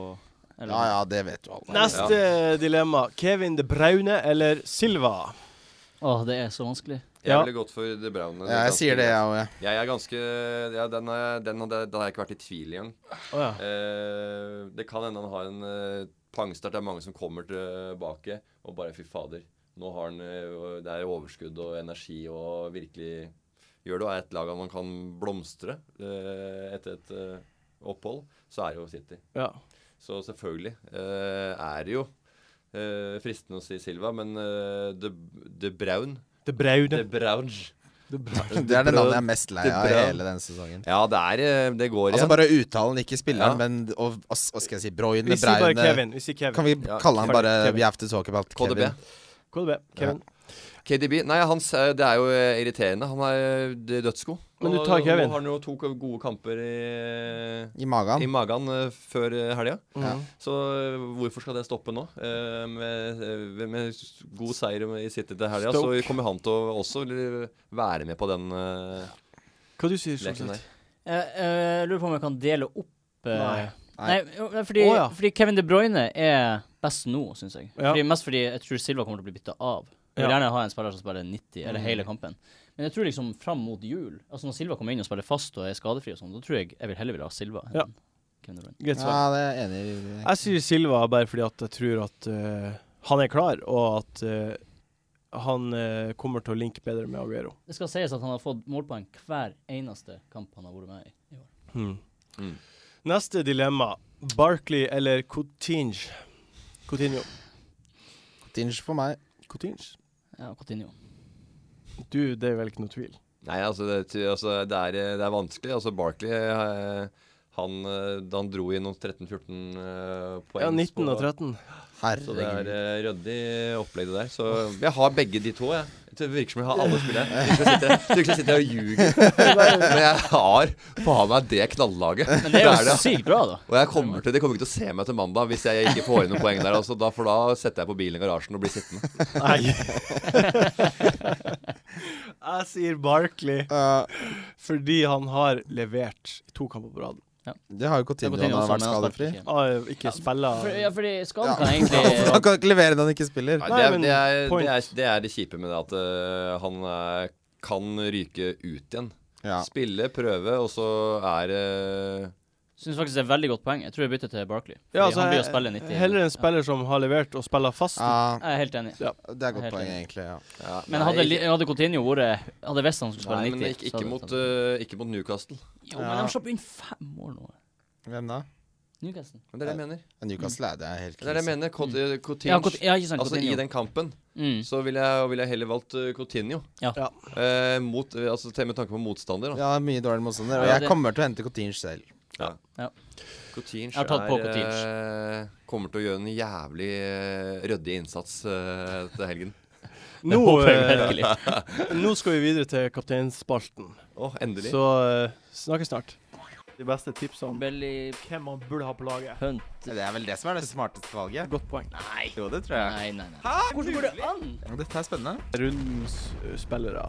Speaker 2: eller-
Speaker 3: Ja ja, det vet jo alle.
Speaker 1: Neste dilemma. Kevin De Braune eller Silva?
Speaker 2: Åh, det er så vanskelig.
Speaker 4: Jeg
Speaker 1: Ja.
Speaker 4: ville gått for De Bruyne.
Speaker 3: Ja, jeg sier det, jeg òg. Ja.
Speaker 4: Jeg er ganske ja, Den, er, den, hadde, den har jeg ikke vært i tvil i engang.
Speaker 1: Å ja.
Speaker 4: Eh, det kan hende han har en eh, pangstart. Det er mange som kommer tilbake og bare Fy fader, nå har han eh, Det er overskudd og energi og virkelig Gjør det og er et lag man kan blomstre eh, etter et eh, opphold, så er det jo City.
Speaker 1: ja.
Speaker 4: Så selvfølgelig eh, er det jo eh, fristende å si Silva, men eh, De, de Braun
Speaker 1: De
Speaker 4: De
Speaker 1: Braune.
Speaker 4: Braunge.
Speaker 1: De Braune.
Speaker 3: Det er det navnet jeg er mest lei
Speaker 4: Det er
Speaker 3: av i
Speaker 4: bra.
Speaker 3: hele denne sesongen.
Speaker 4: Ja, det er eh, Det går
Speaker 3: Altså
Speaker 4: igjen.
Speaker 3: bare uttalen, ikke
Speaker 4: Ja.
Speaker 3: spilleren, men og, og, og skal jeg si Broyne,
Speaker 1: Vi sier bare
Speaker 3: Braune
Speaker 1: Kevin. Vi sier Kevin.
Speaker 3: Kan vi
Speaker 4: Ja,
Speaker 3: kalle han
Speaker 1: Kevin.
Speaker 3: bare
Speaker 1: Kevin.
Speaker 3: We have to talk about
Speaker 4: KDB.
Speaker 3: Kevin?
Speaker 1: KDB. Kevin.
Speaker 4: KDB Nei, han, s- det er jo eh, irriterende. Han er eh, d- dødsgod.
Speaker 1: Men du
Speaker 4: Og
Speaker 1: tar Kevin.
Speaker 4: Nå har han jo to k- gode kamper i,
Speaker 3: I
Speaker 4: i
Speaker 3: magen?
Speaker 4: magen eh, før eh, helga.
Speaker 1: Ja.
Speaker 4: Så eh, hvorfor skal det stoppe nå? Eh, med, eh, med s- god seier i City til helga, så
Speaker 1: Stoke.
Speaker 4: kommer han til å også eh, være med på den eh,
Speaker 1: Hva du sier du,
Speaker 4: leken der.
Speaker 2: Jeg, jeg lurer på om jeg kan dele opp eh,
Speaker 1: Nei.
Speaker 2: Nei, jo, nei, fordi,
Speaker 1: Å, ja.
Speaker 2: fordi Kevin De Bruyne er best nå, syns jeg.
Speaker 1: Ja.
Speaker 2: Fordi, mest fordi jeg tror Silva kommer til å bli bytta av. Jeg vil
Speaker 1: Ja.
Speaker 2: gjerne ha en spiller som spiller 90, eller hele kampen. Men jeg tror liksom fram mot jul, altså når Silva kommer inn og spiller fast og er skadefri og sånn, da tror jeg jeg vil heller vil ha Silva enn
Speaker 1: Ja.
Speaker 2: Kevin De Bruyne.
Speaker 1: Greit
Speaker 3: Ja,
Speaker 1: svar.
Speaker 3: det er jeg enig i.
Speaker 1: Jeg sier Silva bare fordi at jeg tror at eh, han er klar, og at eh, han eh, kommer til å linke bedre med Aguero.
Speaker 2: Det skal sies at han har fått målpoeng hver eneste kamp han har vært med i. i år.
Speaker 4: Mm.
Speaker 1: Neste dilemma. Barkley eller Coutinge? Coutinho.
Speaker 3: Tinge for meg.
Speaker 1: Coutinge?
Speaker 2: Ja, Coutinho.
Speaker 1: Du, det er vel ikke noe tvil.
Speaker 4: Nei, altså det, ty- altså, det, er, eh, det er vanskelig. Altså Barkley eh, han, eh, da han dro inn noen 13-14 eh, poeng
Speaker 1: Ja, 19 og
Speaker 4: på-
Speaker 1: 13.
Speaker 4: Så det er
Speaker 3: Herregud.
Speaker 4: eh, ryddig opplegg det der. Så jeg har begge de to, jeg. Det virker som jeg har alle spillere. Du skal sitte, du skal sitte her og ljuge. Men jeg har faen meg det knallaget.
Speaker 2: Men det er
Speaker 4: Det er
Speaker 2: jo
Speaker 4: det.
Speaker 2: sykt bra, da.
Speaker 4: Og jeg kommer til, De kommer ikke til å se meg til mandag hvis jeg ikke får inn noen poeng der. Altså, da, for da setter jeg på bilen i garasjen og blir sittende.
Speaker 1: Nei. jeg sier Barkley
Speaker 3: Uh,
Speaker 1: fordi han har levert i to kamper på rad.
Speaker 3: det har jo Coutinho han har
Speaker 2: også,
Speaker 3: vært
Speaker 2: men han
Speaker 3: skadefri.
Speaker 2: sparker ikke.
Speaker 1: Ah, ikke spilla
Speaker 2: For, ja, fordi skaden
Speaker 3: Ja.
Speaker 2: kan egentlig
Speaker 3: Han kan ikke levere når han ikke spiller.
Speaker 4: Nei,
Speaker 1: Nei,
Speaker 4: det, er,
Speaker 1: men
Speaker 4: det, er,
Speaker 1: point.
Speaker 4: det, er, det er det kjipe med det at eh, han eh, kan ryke ut igjen.
Speaker 3: Ja.
Speaker 4: Spille, prøve, og så er eh, det
Speaker 2: Syns faktisk det er et veldig godt poeng. Jeg tror jeg bytter til Barkley. Fordi
Speaker 1: Ja, altså,
Speaker 2: han blir å
Speaker 1: jeg-
Speaker 2: spille 90.
Speaker 1: Heller en spiller som har levert og spiller fast.
Speaker 3: Ja,
Speaker 2: Jeg er helt enig.
Speaker 3: det er godt
Speaker 2: Helt
Speaker 3: poeng,
Speaker 2: enig.
Speaker 3: egentlig. Ja.
Speaker 4: ja,
Speaker 2: Men hadde,
Speaker 4: nei,
Speaker 2: li- hadde Coutinho vært Hadde visst han skulle
Speaker 4: Nei,
Speaker 2: spille 90
Speaker 4: men ikke,
Speaker 2: så
Speaker 4: ikke,
Speaker 2: hadde sånn.
Speaker 4: mot,
Speaker 2: jeg tatt
Speaker 4: eh, ikke mot Newcastle.
Speaker 2: det. Jo, men
Speaker 3: Ja.
Speaker 2: de slapp inn fem mål nå.
Speaker 3: Hvem da?
Speaker 2: Newcastle.
Speaker 4: Men det er det jeg mener.
Speaker 3: Newcastle er det er
Speaker 4: Det
Speaker 3: helt
Speaker 4: er det jeg
Speaker 3: krise.
Speaker 4: mener. Cot- eh, Coutinho.
Speaker 2: Ja, Coutinho. ja, ikke sant.
Speaker 4: Altså, I
Speaker 2: Coutinho.
Speaker 4: den kampen
Speaker 2: Mm.
Speaker 4: så ville jeg, ville jeg heller valgt eh, Coutinho.
Speaker 2: Ja.
Speaker 1: Ja.
Speaker 4: Eh, mot, eh, altså, til- med tanke på motstander. Da.
Speaker 3: Ja, mye dårlig motstander. Og
Speaker 2: Ja,
Speaker 3: jeg
Speaker 2: det-
Speaker 3: kommer til å hente Coutinho selv.
Speaker 4: Coutinho
Speaker 2: Jeg har tatt på
Speaker 4: eh, kommer til å gjøre en jævlig eh, ryddig innsats eh, til helgen.
Speaker 1: Nå,
Speaker 2: Håper jeg
Speaker 1: eh,
Speaker 2: virkelig.
Speaker 1: nå skal vi videre til kapteinspalten,
Speaker 4: Å, endelig.
Speaker 1: så eh, snakkes snart. De beste tipsene om
Speaker 2: Belly
Speaker 1: hvem man burde ha på laget.
Speaker 2: punt.
Speaker 3: Det er vel det som er det smarteste valget.
Speaker 1: Godt poeng.
Speaker 2: Nei.
Speaker 3: Jo, det tror
Speaker 2: Nei, nei, nei. Hvordan går det an?
Speaker 3: Dette er spennende.
Speaker 1: Rundens eh, spillere.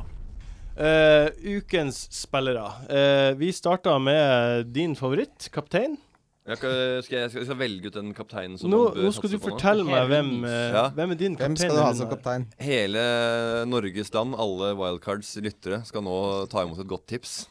Speaker 1: Eh, ukens spillere. Eh, vi starta med din favoritt, kaptein.
Speaker 4: Jeg skal, skal jeg skal jeg velge ut den kapteinen som
Speaker 1: Nå,
Speaker 4: man bør
Speaker 1: nå skal du
Speaker 4: satse på nå.
Speaker 1: fortelle meg hvem,
Speaker 2: Herrens.
Speaker 1: eh,
Speaker 4: Ja.
Speaker 1: hvem er din kaptein.
Speaker 3: Hvem skal du ha som
Speaker 1: denne-
Speaker 3: kaptein?
Speaker 4: Hele Norges land, alle Wildcards lyttere, skal nå ta imot et godt tips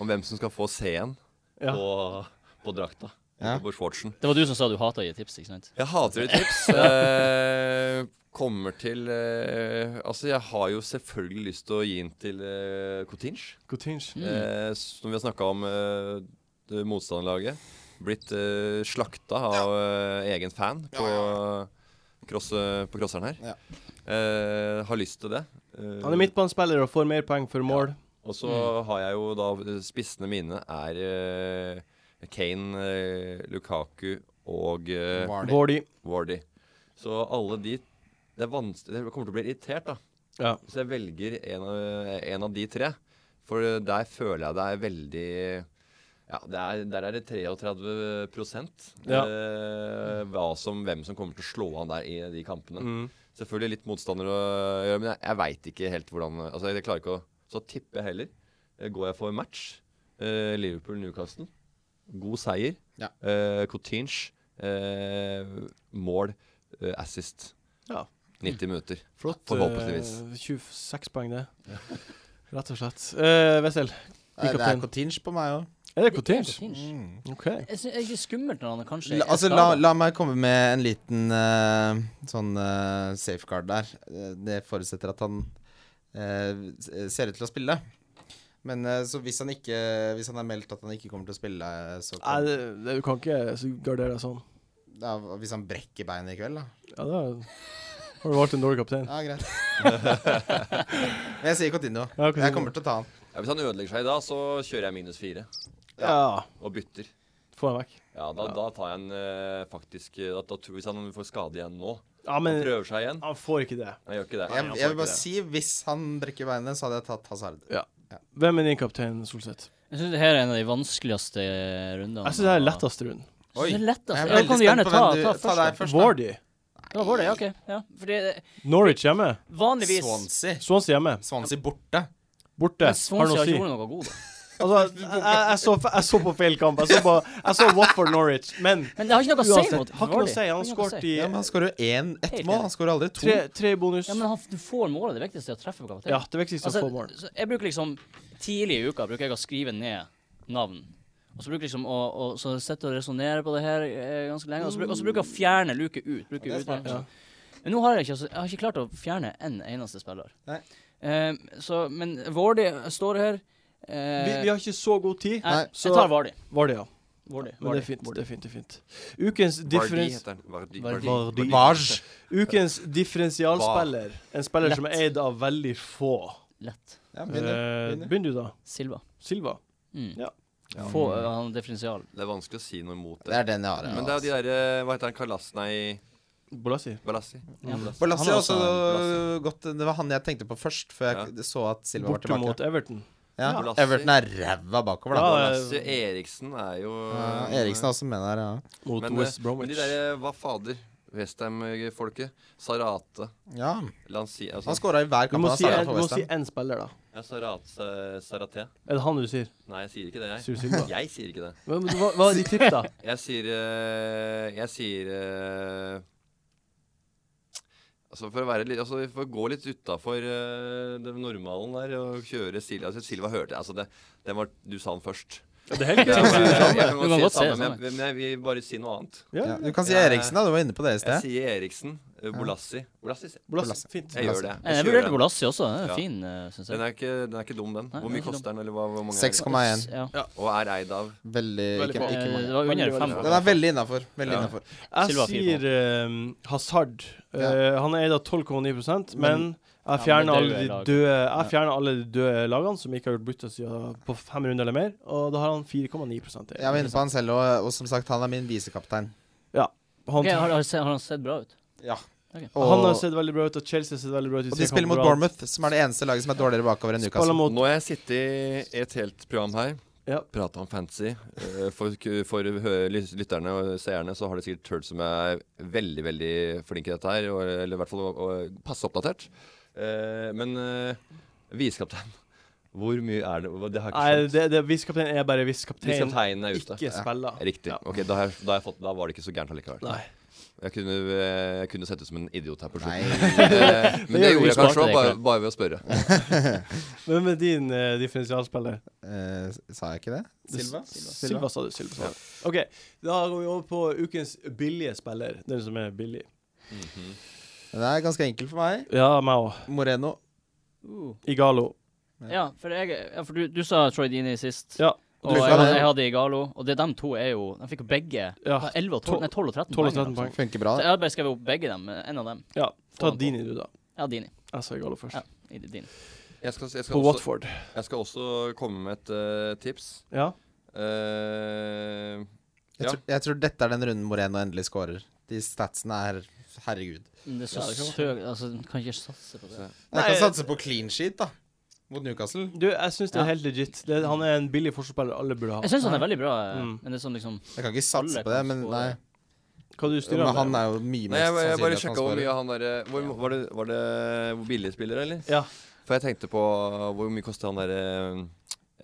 Speaker 4: om hvem som skal få C-en
Speaker 1: Ja.
Speaker 4: på, på drakta.
Speaker 3: Ja.
Speaker 4: På shortsen.
Speaker 2: Det var du som sa du hata å gi tips, ikke sant?
Speaker 4: Jeg hater et tips. Eh, kommer til eh, Altså, jeg har jo selvfølgelig lyst til å gi den til eh, Coutinho.
Speaker 1: Coutinho.
Speaker 4: Eh, som vi har snakka om eh, det motstanderlaget. Blitt eh, slakta av eh, egen fan på, Cross, på crosseren her.
Speaker 3: Ja.
Speaker 4: Eh, har lyst til det. Eh,
Speaker 1: Han er Mm. midtbanespiller og får mer poeng for mål.
Speaker 4: Og så har jeg jo da Spissene mine er eh, Kane, eh, Lukaku og eh,
Speaker 3: Vardy.
Speaker 1: Vardy.
Speaker 4: Wardy. Så alle de Det er vanskelig Jeg kommer til å bli irritert, da.
Speaker 1: Ja.
Speaker 4: Hvis jeg velger en av, en av de tre. For der føler jeg det er veldig Ja, det er, Der er det 33
Speaker 1: Ja.
Speaker 4: eh, hva som, hvem som kommer til å slå an der i de kampene.
Speaker 1: Mm.
Speaker 4: Selvfølgelig litt motstander å gjøre, men jeg, jeg veit ikke helt hvordan Altså, jeg klarer ikke å Så tipper jeg heller. Eh, Går jeg for match? Eh, Liverpool-Newcastle. God seier.
Speaker 3: Ja.
Speaker 4: Eh, Coutinho. Eh, mål. Eh, assist.
Speaker 1: Ja.
Speaker 4: 90 minutter.
Speaker 1: Flott.
Speaker 4: Forhåpentligvis.
Speaker 1: eh, 26 poeng, det. Rett og slett. Eh, Wessel,
Speaker 3: Nei, Det
Speaker 1: kaptein.
Speaker 3: er Cotinge på meg òg.
Speaker 1: er det Coutinho?
Speaker 2: Coutinho.
Speaker 1: OK.
Speaker 2: Jeg synes det er litt skummelt når han kanskje
Speaker 3: La,
Speaker 2: er
Speaker 3: altså, la,
Speaker 2: skadet.
Speaker 3: la meg komme med en liten eh, sånn eh, safeguard der. Eh, Det forutsetter at han eh, s- ser ut til å spille. Men eh, så hvis han ikke Hvis han er meldt at han ikke kommer til å spille, eh, så
Speaker 1: Nei,
Speaker 3: kan,
Speaker 1: det, det, du kan ikke så gardere deg sånn.
Speaker 3: ja, Hvis han brekker beinet i kveld, da.
Speaker 1: Ja, da har du valgt en dårlig kaptein.
Speaker 3: Ja, greit. Men jeg sier Cotinho.
Speaker 1: Ja, Coutinho.
Speaker 3: Jeg kommer til å ta han.
Speaker 4: Ja, hvis han ødelegger seg i dag, så kjører jeg minus fire
Speaker 1: Ja.
Speaker 4: og bytter.
Speaker 1: Få den vekk.
Speaker 4: Ja, da, da tar jeg en eh, faktisk eh, da, da, tror- Hvis han får skade igjen nå
Speaker 1: Ja,
Speaker 4: Han
Speaker 1: men
Speaker 4: prøver seg igjen.
Speaker 1: han får ikke det.
Speaker 4: Jeg gjør ikke det.
Speaker 3: Jeg,
Speaker 1: han får
Speaker 3: jeg vil
Speaker 1: ikke
Speaker 3: bare
Speaker 1: det.
Speaker 3: si hvis han brekker beinet, så hadde jeg tatt Hazard.
Speaker 1: Hvem er din kaptein, Solseth?
Speaker 2: Jeg synes det her er en av de vanskeligste rundene.
Speaker 1: Jeg syns det er letteste runden.
Speaker 2: Jeg synes det er lettest.
Speaker 3: Jeg er
Speaker 2: Ja,
Speaker 3: veldig
Speaker 2: kan du gjerne
Speaker 3: spent på
Speaker 2: ta,
Speaker 3: hvem du-
Speaker 2: ta
Speaker 3: ta
Speaker 2: først.
Speaker 3: deg først. da.
Speaker 1: Vardy.
Speaker 2: da. Ja, var det? Ja, ok. Ja, fordi det-
Speaker 1: Norwich hjemme.
Speaker 2: vanligvis
Speaker 3: Swansea.
Speaker 1: Swansea hjemme.
Speaker 3: Swansea borte.
Speaker 1: Borte.
Speaker 2: Men
Speaker 1: Har
Speaker 2: Swansea
Speaker 1: noe å
Speaker 2: har
Speaker 1: si.
Speaker 2: ikke gjort noe god, da.
Speaker 1: Altså, jeg, jeg, jeg, så, jeg så på feil kamp. Jeg så, på, jeg så Watford Norwich, men
Speaker 2: Men det har ikke noe å si
Speaker 1: uansett.
Speaker 2: mot
Speaker 1: Har ikke noe å
Speaker 2: Vardy.
Speaker 1: si. Han
Speaker 2: Det har ikke noe å
Speaker 1: skåret
Speaker 2: si.
Speaker 1: i
Speaker 3: Ja, men han skårer jo én- ett
Speaker 2: Helt
Speaker 3: mål.
Speaker 2: enig.
Speaker 3: Han skårer aldri to.
Speaker 1: tre, tre bonus.
Speaker 2: Ja, men han, Altså, du får målet. Det viktigste er å treffe på kapteinen.
Speaker 1: Ja, det viktigste er å få mål.
Speaker 2: så jeg bruker liksom Tidlig i uka bruker jeg å skrive ned navn. Og så bruker jeg liksom å, å så sitter jeg og resonnerer på det her eh, ganske lenge. Og så, bruk, og så bruker jeg å fjerne luke ut. Bruker
Speaker 3: Ja, det er
Speaker 2: ut
Speaker 3: smart,
Speaker 2: ja. Men nå har jeg ikke, altså, jeg har ikke klart å fjerne en eneste spiller.
Speaker 3: Nei.
Speaker 2: Eh, så, men Vardy står her. Eh,
Speaker 1: Vi, vi har ikke så god tid.
Speaker 2: nei,
Speaker 3: Nei.
Speaker 1: så-
Speaker 2: jeg tar Vardy.
Speaker 1: Vardy, ja.
Speaker 2: Vardy.
Speaker 1: Men det er fint. Det er fint, det er fint. Ukens,
Speaker 4: Vardy
Speaker 1: differens,
Speaker 4: heter han. Vardy.
Speaker 2: Vardy.
Speaker 1: Vardy.
Speaker 3: Vaj.
Speaker 1: ukens differensialspiller. En spiller som er eid av veldig få.
Speaker 2: Lett.
Speaker 3: Ja, begynner.
Speaker 1: Eh, Begynner du, da?
Speaker 2: Silva.
Speaker 1: Silva.
Speaker 2: Mm.
Speaker 1: Ja.
Speaker 2: Få eh, han differensial.
Speaker 4: Det er vanskelig å si noe imot
Speaker 3: Det
Speaker 4: det.
Speaker 3: er den jeg har. Ja. altså.
Speaker 4: Men det er de derre Hva heter han? Kalasnei
Speaker 1: Bolassi.
Speaker 4: Balassi?
Speaker 2: Ja.
Speaker 4: Mm.
Speaker 3: Balassi
Speaker 2: Han
Speaker 3: er
Speaker 2: er
Speaker 3: også
Speaker 4: også
Speaker 3: godt Det altså, var han jeg tenkte på først, før jeg så at Silva var
Speaker 1: Borte
Speaker 3: tilbake.
Speaker 1: mot Everton.
Speaker 3: Ja.
Speaker 4: Ja.
Speaker 3: Everton er ræva bakover, da.
Speaker 1: Ja,
Speaker 4: Balassi Eriksen er jo
Speaker 3: Ja, Eriksen er også med der, ja.
Speaker 1: Mot
Speaker 4: Men, eh,
Speaker 1: West
Speaker 4: Men
Speaker 1: Bromwich.
Speaker 4: de derre Hva fader? Westham-folket. Sarate.
Speaker 3: ja.
Speaker 4: Lansi...
Speaker 3: Han
Speaker 4: Altså,
Speaker 3: skåra i hver
Speaker 1: Du
Speaker 3: kamp.
Speaker 1: må
Speaker 3: han
Speaker 1: si
Speaker 3: startet
Speaker 1: en-
Speaker 3: for
Speaker 1: du må
Speaker 3: West Ham.
Speaker 1: si én spiller, da.
Speaker 4: ja, Sarate Sarate.
Speaker 1: Er det han du sier?
Speaker 4: Nei, jeg sier ikke det, jeg.
Speaker 1: Sier du Silva?
Speaker 4: Jeg sier ikke det.
Speaker 1: Hva, men hva, hva er de tipp, da?
Speaker 4: Jeg sier eh, Jeg sier eh, Altså For å være litt altså For å gå litt utafor eh, den normalen der og kjøre Silva altså Silva hørte jeg altså det, den var, Du sa den først.
Speaker 1: Det er helt
Speaker 4: Jeg, jeg, jeg,
Speaker 2: Du kan
Speaker 4: si det
Speaker 2: godt si det
Speaker 4: samme, men
Speaker 2: samme.
Speaker 4: jeg, men jeg vil bare si noe annet.
Speaker 1: Ja,
Speaker 3: Ja, du kan si Eriksen, da. Du var inne på det i
Speaker 4: Jeg
Speaker 3: sted.
Speaker 4: sier Eriksen. eh, Bolassi. Bolassi sier-
Speaker 1: Bolassi. Fint.
Speaker 4: Jeg gjør det.
Speaker 2: Eh, Jeg
Speaker 4: kjører
Speaker 2: vurderte
Speaker 4: den.
Speaker 2: Bolassi også. Den er
Speaker 4: Ja.
Speaker 2: fin, eh, synes
Speaker 4: Den
Speaker 2: jeg.
Speaker 4: er, ikke, den er ikke dum, den.
Speaker 2: Nei,
Speaker 4: Hvor
Speaker 2: den er
Speaker 4: mye
Speaker 2: ikke
Speaker 4: koster den? Eller hva, hvor mange er det?
Speaker 3: 6,1.
Speaker 2: Ja.
Speaker 4: Og er eid av
Speaker 3: Veldig
Speaker 1: Veldig
Speaker 3: ikke,
Speaker 1: bra.
Speaker 3: ikke
Speaker 2: Eh,
Speaker 3: mange.
Speaker 2: Det var
Speaker 1: Veldig,
Speaker 2: under
Speaker 1: veldig
Speaker 2: fem.
Speaker 1: bra.
Speaker 3: Den er veldig innafor. Veldig
Speaker 4: Ja.
Speaker 3: innafor.
Speaker 1: Jeg
Speaker 2: Silva fire
Speaker 1: sier eh, Hazard. Eh, han er eid av 12,9 men
Speaker 3: Men-
Speaker 1: jeg
Speaker 2: Ja, men
Speaker 1: fjerner
Speaker 2: det er
Speaker 1: alle
Speaker 2: jo
Speaker 1: de
Speaker 2: lag.
Speaker 1: døde Jeg fjerner alle de døde lagene som ikke har gjort bytte siden på fem runder eller mer, og da har han 4,9
Speaker 3: Jeg var inne på han selv, og, og som sagt, han er min visekaptein.
Speaker 1: han,
Speaker 2: Ok, har, har, se- har han sett bra ut?
Speaker 3: Ja.
Speaker 2: Ok.
Speaker 1: han har
Speaker 3: Og,
Speaker 1: sett veldig bra ut, og Chelsea har sett veldig bra ut. i
Speaker 3: og
Speaker 1: tre
Speaker 3: de
Speaker 1: kamper
Speaker 3: spiller mot
Speaker 1: på rad.
Speaker 3: Bournemouth, som er det eneste laget som er dårligere bakover enn
Speaker 1: Spiller
Speaker 3: Newcastle.
Speaker 1: mot
Speaker 4: Nå har jeg sittet i et helt program her.
Speaker 1: Ja.
Speaker 4: Prata om fantasy. Eh, For, for hø- lys- lytterne og seerne så har det sikkert Turd som er veldig veldig flink i dette her. Og, eller i hvert fall og, og, passe oppdatert. Eh, men uh, visekaptein, hvor mye er det? Hva- Det har
Speaker 1: Nei,
Speaker 4: jeg ikke skjønt.
Speaker 1: det, det, viskaptein er bare viskaptein.
Speaker 4: Visekapteinen er ute.
Speaker 1: Ikke spiller.
Speaker 4: Riktig. Ok, da, har jeg, da, har jeg fått, da var det ikke så gærent allikevel.
Speaker 1: Nei.
Speaker 4: Jeg kunne, jeg kunne sett ut som en idiot her på
Speaker 3: Nei.
Speaker 4: slutten. Men, eh, men det gjorde
Speaker 2: gjør vi.
Speaker 4: jeg kanskje
Speaker 2: Sparte
Speaker 4: også,
Speaker 2: det,
Speaker 4: bare,
Speaker 2: ikke?
Speaker 4: bare ved å spørre.
Speaker 1: Hvem er din eh, differensialspiller?
Speaker 3: Eh, sa jeg ikke det? Silva?
Speaker 1: Silva. Silva sa du. Silva sa du. OK, da går vi over på ukens billige spiller. Den som er billig.
Speaker 4: Mhm.
Speaker 3: Den er ganske enkel for meg.
Speaker 1: Ja, meg òg.
Speaker 3: Moreno.
Speaker 2: Uh.
Speaker 1: Igalo.
Speaker 2: Ja, for, jeg, ja, for du, du sa Troy Dini sist.
Speaker 1: Ja.
Speaker 2: Og
Speaker 3: Du
Speaker 2: jeg,
Speaker 3: sa
Speaker 2: hadde-
Speaker 3: det.
Speaker 2: jeg hadde Igalo. Og det, de to er jo De fikk jo begge
Speaker 1: Ja.
Speaker 2: 11 og 12, nei, 12
Speaker 1: 12
Speaker 2: og 13
Speaker 1: Ah, og
Speaker 2: poeng,
Speaker 1: 13
Speaker 2: altså.
Speaker 1: poeng.
Speaker 3: Funker bra.
Speaker 2: Så
Speaker 3: det.
Speaker 2: jeg hadde bare skrevet opp begge dem. men En av dem.
Speaker 1: Ja. Ta
Speaker 2: Få han på.
Speaker 1: Dini, du, da.
Speaker 2: Ja, Dini.
Speaker 1: Jeg sa Igalo først.
Speaker 2: Ja, i- Dini.
Speaker 4: Jeg skal,
Speaker 1: På
Speaker 4: jeg, skal også,
Speaker 1: Watford.
Speaker 4: jeg skal også komme med et eh, tips.
Speaker 1: Ja.
Speaker 4: Eh,
Speaker 3: Jeg,
Speaker 4: Ja.
Speaker 3: tror, jeg tror dette er den runden Moreno endelig scorer. De statsene er herregud.
Speaker 2: Men Det er så
Speaker 1: Ja, det kan
Speaker 2: søkt Altså, du kan ikke satse på det.
Speaker 3: Jeg
Speaker 1: Nei,
Speaker 3: kan satse på clean sheet, da. mot Newcastle.
Speaker 1: Du, jeg syns det
Speaker 2: Ja.
Speaker 1: er helt legit. Det, han er en billig forsvarsspiller alle burde ha.
Speaker 2: Jeg syns han er veldig bra, eh,
Speaker 1: Mm.
Speaker 2: men det er sånn liksom
Speaker 3: Jeg kan ikke satse
Speaker 2: Alle
Speaker 3: på det,
Speaker 2: kan
Speaker 3: men
Speaker 2: score.
Speaker 3: nei.
Speaker 1: Hva du styrer
Speaker 3: Men han
Speaker 1: med?
Speaker 3: er jo mye
Speaker 4: Nei,
Speaker 3: mer
Speaker 4: jeg, jeg bare
Speaker 3: sannsynlig at han
Speaker 4: sjekka hvor mye
Speaker 3: skårer.
Speaker 4: han derre hvor, Var det, var det billigspiller, eller?
Speaker 1: Ja.
Speaker 4: For jeg tenkte på eh, hvor mye koster han derre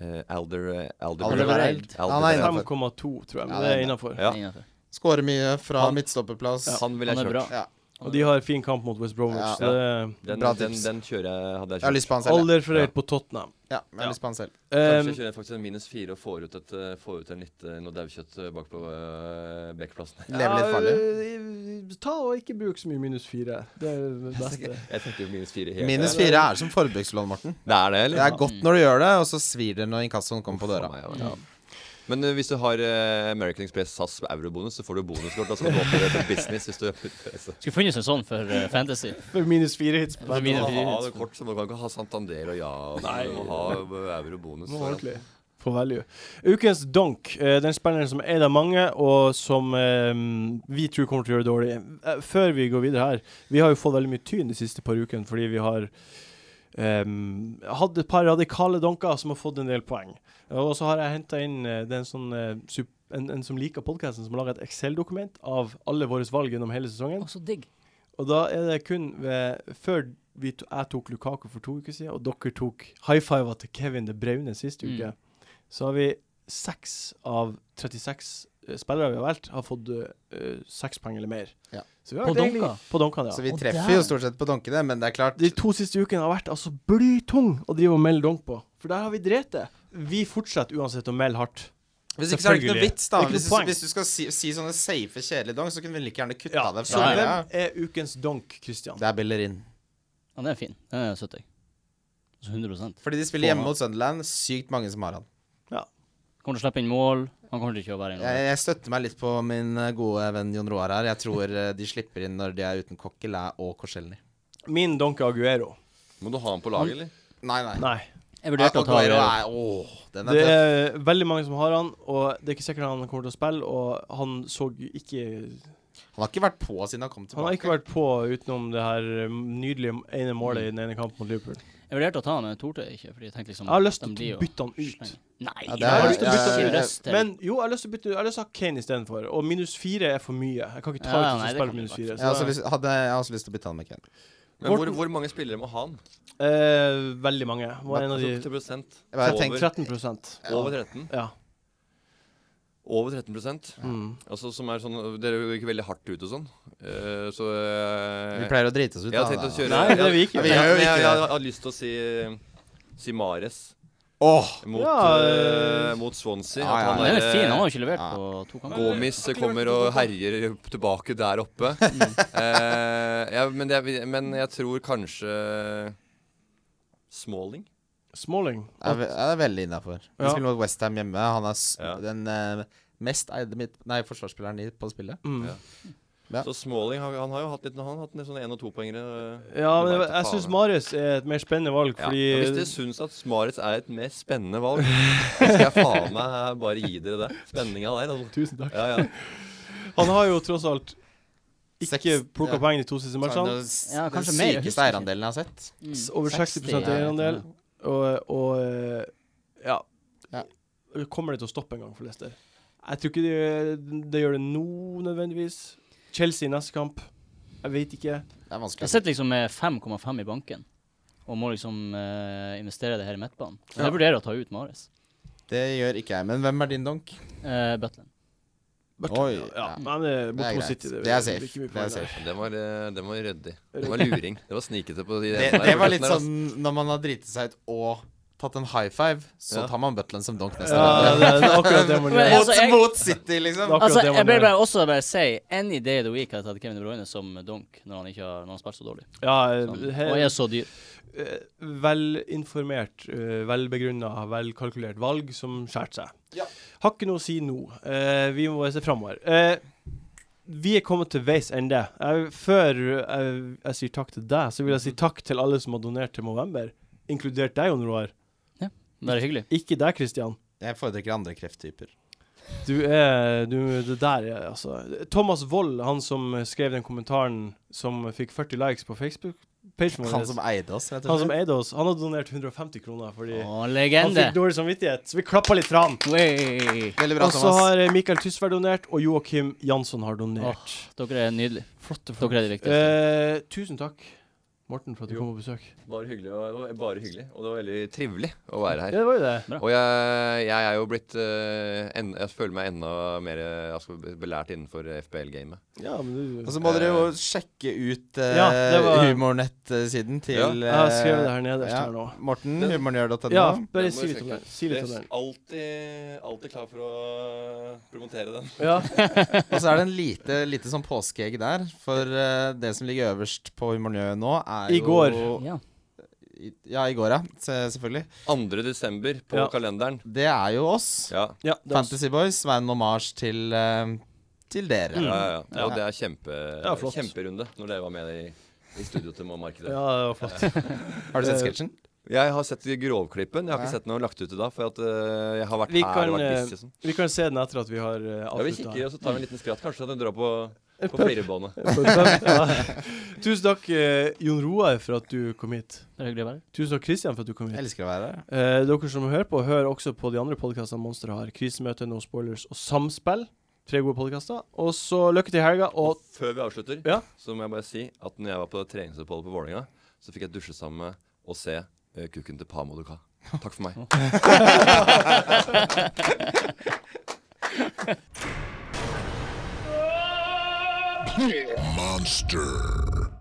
Speaker 4: eh, Alder Alder
Speaker 3: Alderweireld. Han er
Speaker 4: Alderweireld.
Speaker 3: innenfor.
Speaker 1: 5,2, tror jeg.
Speaker 3: Ja,
Speaker 1: Men det
Speaker 3: det
Speaker 1: er
Speaker 3: er
Speaker 1: innafor.
Speaker 4: Ja.
Speaker 2: innenfor.
Speaker 3: Skårer mye fra
Speaker 4: Han-
Speaker 3: midtstopperplass.
Speaker 4: Han ville
Speaker 2: Han
Speaker 4: jeg
Speaker 2: er
Speaker 4: kjørt.
Speaker 2: bra.
Speaker 3: Ja.
Speaker 1: Og de har fin kamp mot West Bromwich.
Speaker 3: Ja.
Speaker 1: Så det
Speaker 4: Den,
Speaker 3: Bra
Speaker 4: den,
Speaker 3: tips.
Speaker 4: den kjører jeg hadde jeg
Speaker 3: Jeg har
Speaker 4: kjørt.
Speaker 3: lyst på han
Speaker 1: er
Speaker 3: selv. jeg.
Speaker 1: alder for høyt på Tottenham.
Speaker 3: Ja, jeg har lyst på han selv.
Speaker 4: Kanskje jeg
Speaker 1: Um,
Speaker 4: kjører faktisk en minus fire og får ut, et, eh, får ut en litt, eh, noe daukjøtt eh, bak på uh, bekkplassen.
Speaker 3: Lever litt farlig.
Speaker 1: øh, ta og ikke bruk så mye minus fire. Det er det beste.
Speaker 4: Jeg tenkte jo minus fire helt.
Speaker 3: Minus fire er som forbrukslån, Morten.
Speaker 4: Det er det,
Speaker 3: Det
Speaker 4: eller?
Speaker 3: er godt når du gjør det, og så svir det når inkassoen kommer på døra.
Speaker 4: Faen meg, ja. Men eh, hvis du har eh, American Express SAS med eurobonus, så får du bonuskort. Da skal du åpne det til business hvis du
Speaker 2: Skulle funnet seg sånn for eh, fantasy.
Speaker 1: For minus fire hits. på
Speaker 2: For
Speaker 1: hver
Speaker 2: Altså, minus
Speaker 1: mål.
Speaker 2: fire.
Speaker 4: ha det kort, så må du kan ikke ha Santander og ja. og sånn. Du må ha eurobonus.
Speaker 1: Nå ordentlig. På value. Ukens donk. eh, Den spilleren som er eid av mange, og som eh, vi tror kommer til å gjøre det dårlig. Eh, Før vi går videre her Vi har jo fått veldig mye tyn de siste par ukene fordi vi har ehm, hatt et par radikale donker som har fått en del poeng. Og så har jeg henta inn eh, det er en, sånn, eh, sup- en, en som liker podkasten, som har laga et Excel-dokument av alle våre valg gjennom hele sesongen.
Speaker 2: Å, så digg.
Speaker 1: Og da er det kun ved, før vi to, jeg tok Lukaku for to uker siden, og dere tok high-fiva til Kevin De Braune sist
Speaker 2: Mm.
Speaker 1: uke, så har vi seks av 36 spillere vi har valgt, har fått eh, seks poeng eller mer.
Speaker 3: Ja.
Speaker 1: Så vi har
Speaker 2: På
Speaker 1: vært egentlig-
Speaker 2: donka.
Speaker 1: På donkene,
Speaker 3: Så
Speaker 1: ja.
Speaker 3: vi
Speaker 2: Og
Speaker 3: treffer
Speaker 2: der.
Speaker 3: jo stort sett på donkene, men det er klart
Speaker 1: De to siste ukene har vært altså blytung å drive og melde donk på, for der har vi drept det. Vi fortsetter uansett å melde hardt.
Speaker 3: Hvis ikke så er det ikke noe
Speaker 1: Selvfølgelig.
Speaker 3: vits,
Speaker 1: Det
Speaker 3: da.
Speaker 1: er ikke
Speaker 3: Hvis
Speaker 1: noe
Speaker 3: du,
Speaker 1: poeng.
Speaker 3: hvis du skal si, si sånne safe, kjedelige dong, så kunne vi like gjerne kutta det. sånn,
Speaker 1: Så
Speaker 2: Ja,
Speaker 1: hvem
Speaker 2: ja,
Speaker 1: er ukens donk, Christian?
Speaker 3: Det er Bellerin.
Speaker 2: Ja, den er fin. Den er 70. Altså 100
Speaker 3: Fordi de spiller hjemme mot Sunderland. Sykt mange som har han.
Speaker 2: Kommer til å slippe inn mål. Han kommer til ikke å være
Speaker 3: Jeg,
Speaker 2: inne.
Speaker 3: jeg støtter meg litt på min eh, gode venn Jon Roar her. Jeg tror eh, de slipper inn når de er uten Coquelin og Korselny.
Speaker 1: Min donk er Aguero.
Speaker 4: Må du ha den på laget, eller?
Speaker 3: Nei, nei.
Speaker 1: Nei.
Speaker 2: Jeg vurderte å ta
Speaker 3: Aguero
Speaker 2: det.
Speaker 3: er Åh, den er
Speaker 1: Det
Speaker 3: tøff.
Speaker 1: er veldig mange som har han, og det er ikke sikkert han kommer til å spille. Og han så ikke
Speaker 3: Han har ikke vært på siden han kom
Speaker 1: Han har ikke
Speaker 3: tilbake.
Speaker 1: vært på utenom det her um, nydelige ene målet i den ene kampen mot Liverpool.
Speaker 2: Jeg vurderte å ta han, men jeg torde ikke. Fordi jeg tenkte liksom
Speaker 1: Jeg har lyst
Speaker 2: Mm. de
Speaker 1: til
Speaker 2: blir
Speaker 1: å
Speaker 2: jo
Speaker 1: bytte han ut.
Speaker 2: sleng- Nei,
Speaker 3: Ja, det
Speaker 2: jeg har
Speaker 1: er-
Speaker 2: lyst til å bytte
Speaker 1: jeg-
Speaker 2: til
Speaker 1: jeg-
Speaker 2: røst til.
Speaker 1: Men jo, jeg har lyst til å bytte Jeg har lyst til å ha Kane istedenfor. Og minus fire er for mye. Jeg kan ikke ta ut en
Speaker 2: Ja, nei,
Speaker 1: som
Speaker 2: det
Speaker 1: spiller
Speaker 2: kan
Speaker 1: minus
Speaker 2: du
Speaker 1: fire.
Speaker 3: Jeg har, også
Speaker 1: Så,
Speaker 3: lyst, hadde, jeg har også lyst til å bytte han med Ken.
Speaker 4: Men hvor,
Speaker 1: Morten-
Speaker 4: hvor mange spillere må ha han?
Speaker 1: eh, veldig mange. Var en av de
Speaker 4: 80
Speaker 3: bare
Speaker 4: over,
Speaker 3: tenker-
Speaker 1: 13
Speaker 4: over 13
Speaker 1: Ja.
Speaker 4: Over 13
Speaker 1: Mm.
Speaker 4: Altså som er sånn Dere gikk veldig hardt ut og sånn. Eh, så eh,
Speaker 3: Vi pleier å drite oss ut.
Speaker 4: Jeg har
Speaker 3: da,
Speaker 4: tenkt å
Speaker 3: da.
Speaker 4: kjøre
Speaker 1: Nei, det er vi ikke.
Speaker 4: Jeg,
Speaker 3: Vi
Speaker 4: jeg,
Speaker 3: gjør jo
Speaker 4: jeg, jeg,
Speaker 3: ikke det.
Speaker 4: har lyst til å si Si Mares
Speaker 3: Åh,
Speaker 4: mot,
Speaker 1: Ja,
Speaker 4: eh,
Speaker 1: eh,
Speaker 4: mot Swansea.
Speaker 3: ja, ja.
Speaker 4: At
Speaker 2: Den er
Speaker 4: eh,
Speaker 2: fin. Han har jo ikke levert
Speaker 3: ja.
Speaker 2: på to kamper.
Speaker 4: Gomis kommer og herjer tilbake der oppe. Eh, ja, men, det, er- men jeg tror kanskje Smalling.
Speaker 1: Smalling.
Speaker 3: jeg er ve- jeg er veldig innafor. Vi
Speaker 1: Ja.
Speaker 3: spiller mot Westham hjemme. Han er s
Speaker 4: Ja.
Speaker 3: den eh, mest eide midt... Nei, forsvarsspilleren i- på spillet.
Speaker 1: Mm.
Speaker 4: Ja.
Speaker 3: Ja.
Speaker 4: Så Smalling han, han har jo hatt litt Han har hatt litt sånn én- og topoengere. eh,
Speaker 1: Ja, men
Speaker 4: det
Speaker 1: jeg,
Speaker 4: vet
Speaker 1: jeg
Speaker 4: faen.
Speaker 1: syns Marius er et mer spennende valg,
Speaker 4: Ja.
Speaker 1: fordi
Speaker 4: og Hvis dere syns at Smares er et mer spennende valg, så skal jeg faen meg bare gi dere det. Spenninga der. Altså.
Speaker 1: Tusen takk.
Speaker 4: Ja, ja.
Speaker 1: Han har jo tross alt ikke
Speaker 3: Seks-
Speaker 1: plukka
Speaker 3: ja.
Speaker 1: poeng de to siste
Speaker 3: Så han er
Speaker 1: matchene.
Speaker 3: jo s-
Speaker 2: Ja,
Speaker 3: den
Speaker 2: kanskje mer, jeg
Speaker 3: sykeste
Speaker 2: husker ikke.
Speaker 3: eierandelen jeg har sett.
Speaker 1: S- Over 60
Speaker 2: 60, Mm, ja.
Speaker 1: eierandel. Og, og eh, ja.
Speaker 3: Ja.
Speaker 1: Kommer det til å stoppe en gang for Leicester? Jeg tror ikke det, det gjør det nå, nødvendigvis. Chelsea neste kamp. Jeg vet ikke.
Speaker 3: Det er vanskelig.
Speaker 2: Jeg sitter liksom med 5,5 i banken og må liksom eh, investere det her i midtbanen. Så
Speaker 1: Ja.
Speaker 2: jeg vurderer å ta ut Mares.
Speaker 3: Det gjør ikke jeg. Men hvem er din donk?
Speaker 2: Uh, Butland.
Speaker 3: Oi,
Speaker 1: Ja,
Speaker 3: ja.
Speaker 1: men det er
Speaker 3: Det er
Speaker 1: borte mot
Speaker 3: greit.
Speaker 1: City.
Speaker 3: Det er
Speaker 1: blir
Speaker 3: safe.
Speaker 1: ikke mye
Speaker 3: Det er
Speaker 1: poeng der.
Speaker 3: safe.
Speaker 4: Den var, eh, den var ryddig. Den var luring. Det var snikete på de
Speaker 3: Det, det var litt sånn når man har driti seg ut og tatt en high five, så
Speaker 4: Ja.
Speaker 3: tar man Butland som donk neste
Speaker 1: Ja,
Speaker 3: gang.
Speaker 1: det er det er akkurat det man
Speaker 2: Men
Speaker 1: gjør.
Speaker 2: altså,
Speaker 3: Mot,
Speaker 2: jeg-
Speaker 3: mot City, liksom.
Speaker 1: Akkurat
Speaker 2: Altså,
Speaker 1: det
Speaker 2: jeg
Speaker 1: man
Speaker 2: vil
Speaker 1: gjør.
Speaker 2: bare også bare si any day of the week har jeg tatt Kevin De Bruyne som donk når han ikke har, når han har spilt så dårlig.
Speaker 1: Ja,
Speaker 2: Sånn.
Speaker 1: he-
Speaker 2: Og er så dyr.
Speaker 1: eh, velinformert, eh, velbegrunna, velkalkulert valg som skjærte seg.
Speaker 3: Ja.
Speaker 1: Har ikke noe å si nå. Eh, vi må se framover. Eh, vi er kommet til veis ende. Jeg- før eh, jeg sier takk til deg, så vil jeg si takk til alle som har donert til Movember. Inkludert deg, Jon Roar.
Speaker 2: Bare hyggelig.
Speaker 1: Ikke deg, Christian.
Speaker 3: Jeg foretrekker andre krefttyper.
Speaker 1: Du er du, Det der er altså Thomas Wold, han som skrev den kommentaren som fikk 40 likes på Facebook, Patreon
Speaker 3: Han
Speaker 1: vår.
Speaker 3: som eide oss, rett
Speaker 1: Han
Speaker 3: og
Speaker 1: som e-
Speaker 3: slett.
Speaker 1: eide oss, han hadde donert 150 kroner fordi
Speaker 2: Å,
Speaker 1: han
Speaker 2: legende.
Speaker 1: fikk dårlig samvittighet. Så vi klappa litt for han.
Speaker 2: Wey.
Speaker 3: Veldig bra,
Speaker 1: Og så
Speaker 3: Thomas.
Speaker 1: har eh, Mikael Tysvær donert, og Joakim Jansson har donert.
Speaker 2: Dere er nydelige.
Speaker 1: Flotte folk.
Speaker 2: Dere er de viktigste.
Speaker 1: Eh, tusen takk, Morten, for at du
Speaker 4: Jo.
Speaker 1: kom på besøk.
Speaker 4: Bare hyggelig, og, det var bare hyggelig. Og det var veldig trivelig å være her.
Speaker 1: Ja, det var jo det.
Speaker 4: Og jeg, jeg er jo blitt eh, en, Jeg føler meg enda mer eh, altså, belært innenfor FBL-gamet.
Speaker 1: Ja, men du
Speaker 3: Og så må dere jo sjekke ut eh,
Speaker 1: Ja, det var-
Speaker 3: humornett-siden til
Speaker 4: Ja.
Speaker 1: Jeg har skrevet det
Speaker 3: eh,
Speaker 1: her nederst
Speaker 3: ja,
Speaker 1: her nå.
Speaker 3: Morten, humornør.no.
Speaker 1: Ja, bare si litt om den. Si litt om den.
Speaker 4: Alltid, klar for å promotere den.
Speaker 1: Ja.
Speaker 3: Og så er det en lite, lite sånn påskeegg der, for eh, det som ligger øverst på humornør nå, er
Speaker 1: I
Speaker 3: jo
Speaker 1: går.
Speaker 2: Ja.
Speaker 3: I- Ja, i går, ja. Se, selvfølgelig.
Speaker 4: 2. desember på
Speaker 1: Ja.
Speaker 4: kalenderen.
Speaker 3: Det er jo oss.
Speaker 4: Ja.
Speaker 1: ja det var-
Speaker 3: Fantasy Boys var en omarsj til, eh, til
Speaker 4: Ja,
Speaker 3: dere.
Speaker 4: ja, ja.
Speaker 3: Ja.
Speaker 4: Og det er kjempe,
Speaker 1: Ja, flott.
Speaker 4: kjemperunde når dere var med i, i studio til Markedet.
Speaker 1: ja, det var flott.
Speaker 3: Har du sett
Speaker 1: Eh,
Speaker 3: sketsjen?
Speaker 4: Jeg har sett grovklippen. Jeg har
Speaker 3: Ja.
Speaker 4: ikke sett noe lagt ut i dag, for at, eh, jeg har vært
Speaker 1: Vi
Speaker 4: her
Speaker 1: kan,
Speaker 4: og vært
Speaker 1: eh,
Speaker 4: busy. og sånn.
Speaker 1: Vi kan se den etter at vi har uh,
Speaker 4: Ja, vi kikker,
Speaker 1: avslutta.
Speaker 4: og så tar vi en liten skratt. Kanskje at den drar på, på firebåndet.
Speaker 1: Ja. Tusen takk, eh, Jon Roar, for at du kom hit.
Speaker 2: Det er hyggelig å være her.
Speaker 1: Tusen takk, Christian, for at du kom
Speaker 3: Jeg
Speaker 1: hit.
Speaker 3: elsker å være her.
Speaker 1: Eh, dere som hører på, hør også på de andre podkastene Monster har. Krisemøte, No Spoilers og Samspill. Tre gode podkaster. Og så lykke til i helga, og
Speaker 4: Og før vi avslutter,
Speaker 1: Ja.
Speaker 4: så må jeg bare si at når jeg var på treningsoppholdet på Vålerenga, så fikk jeg dusje sammen med og se eh, kukken til Pa Modoka. Takk for meg.
Speaker 5: Monster.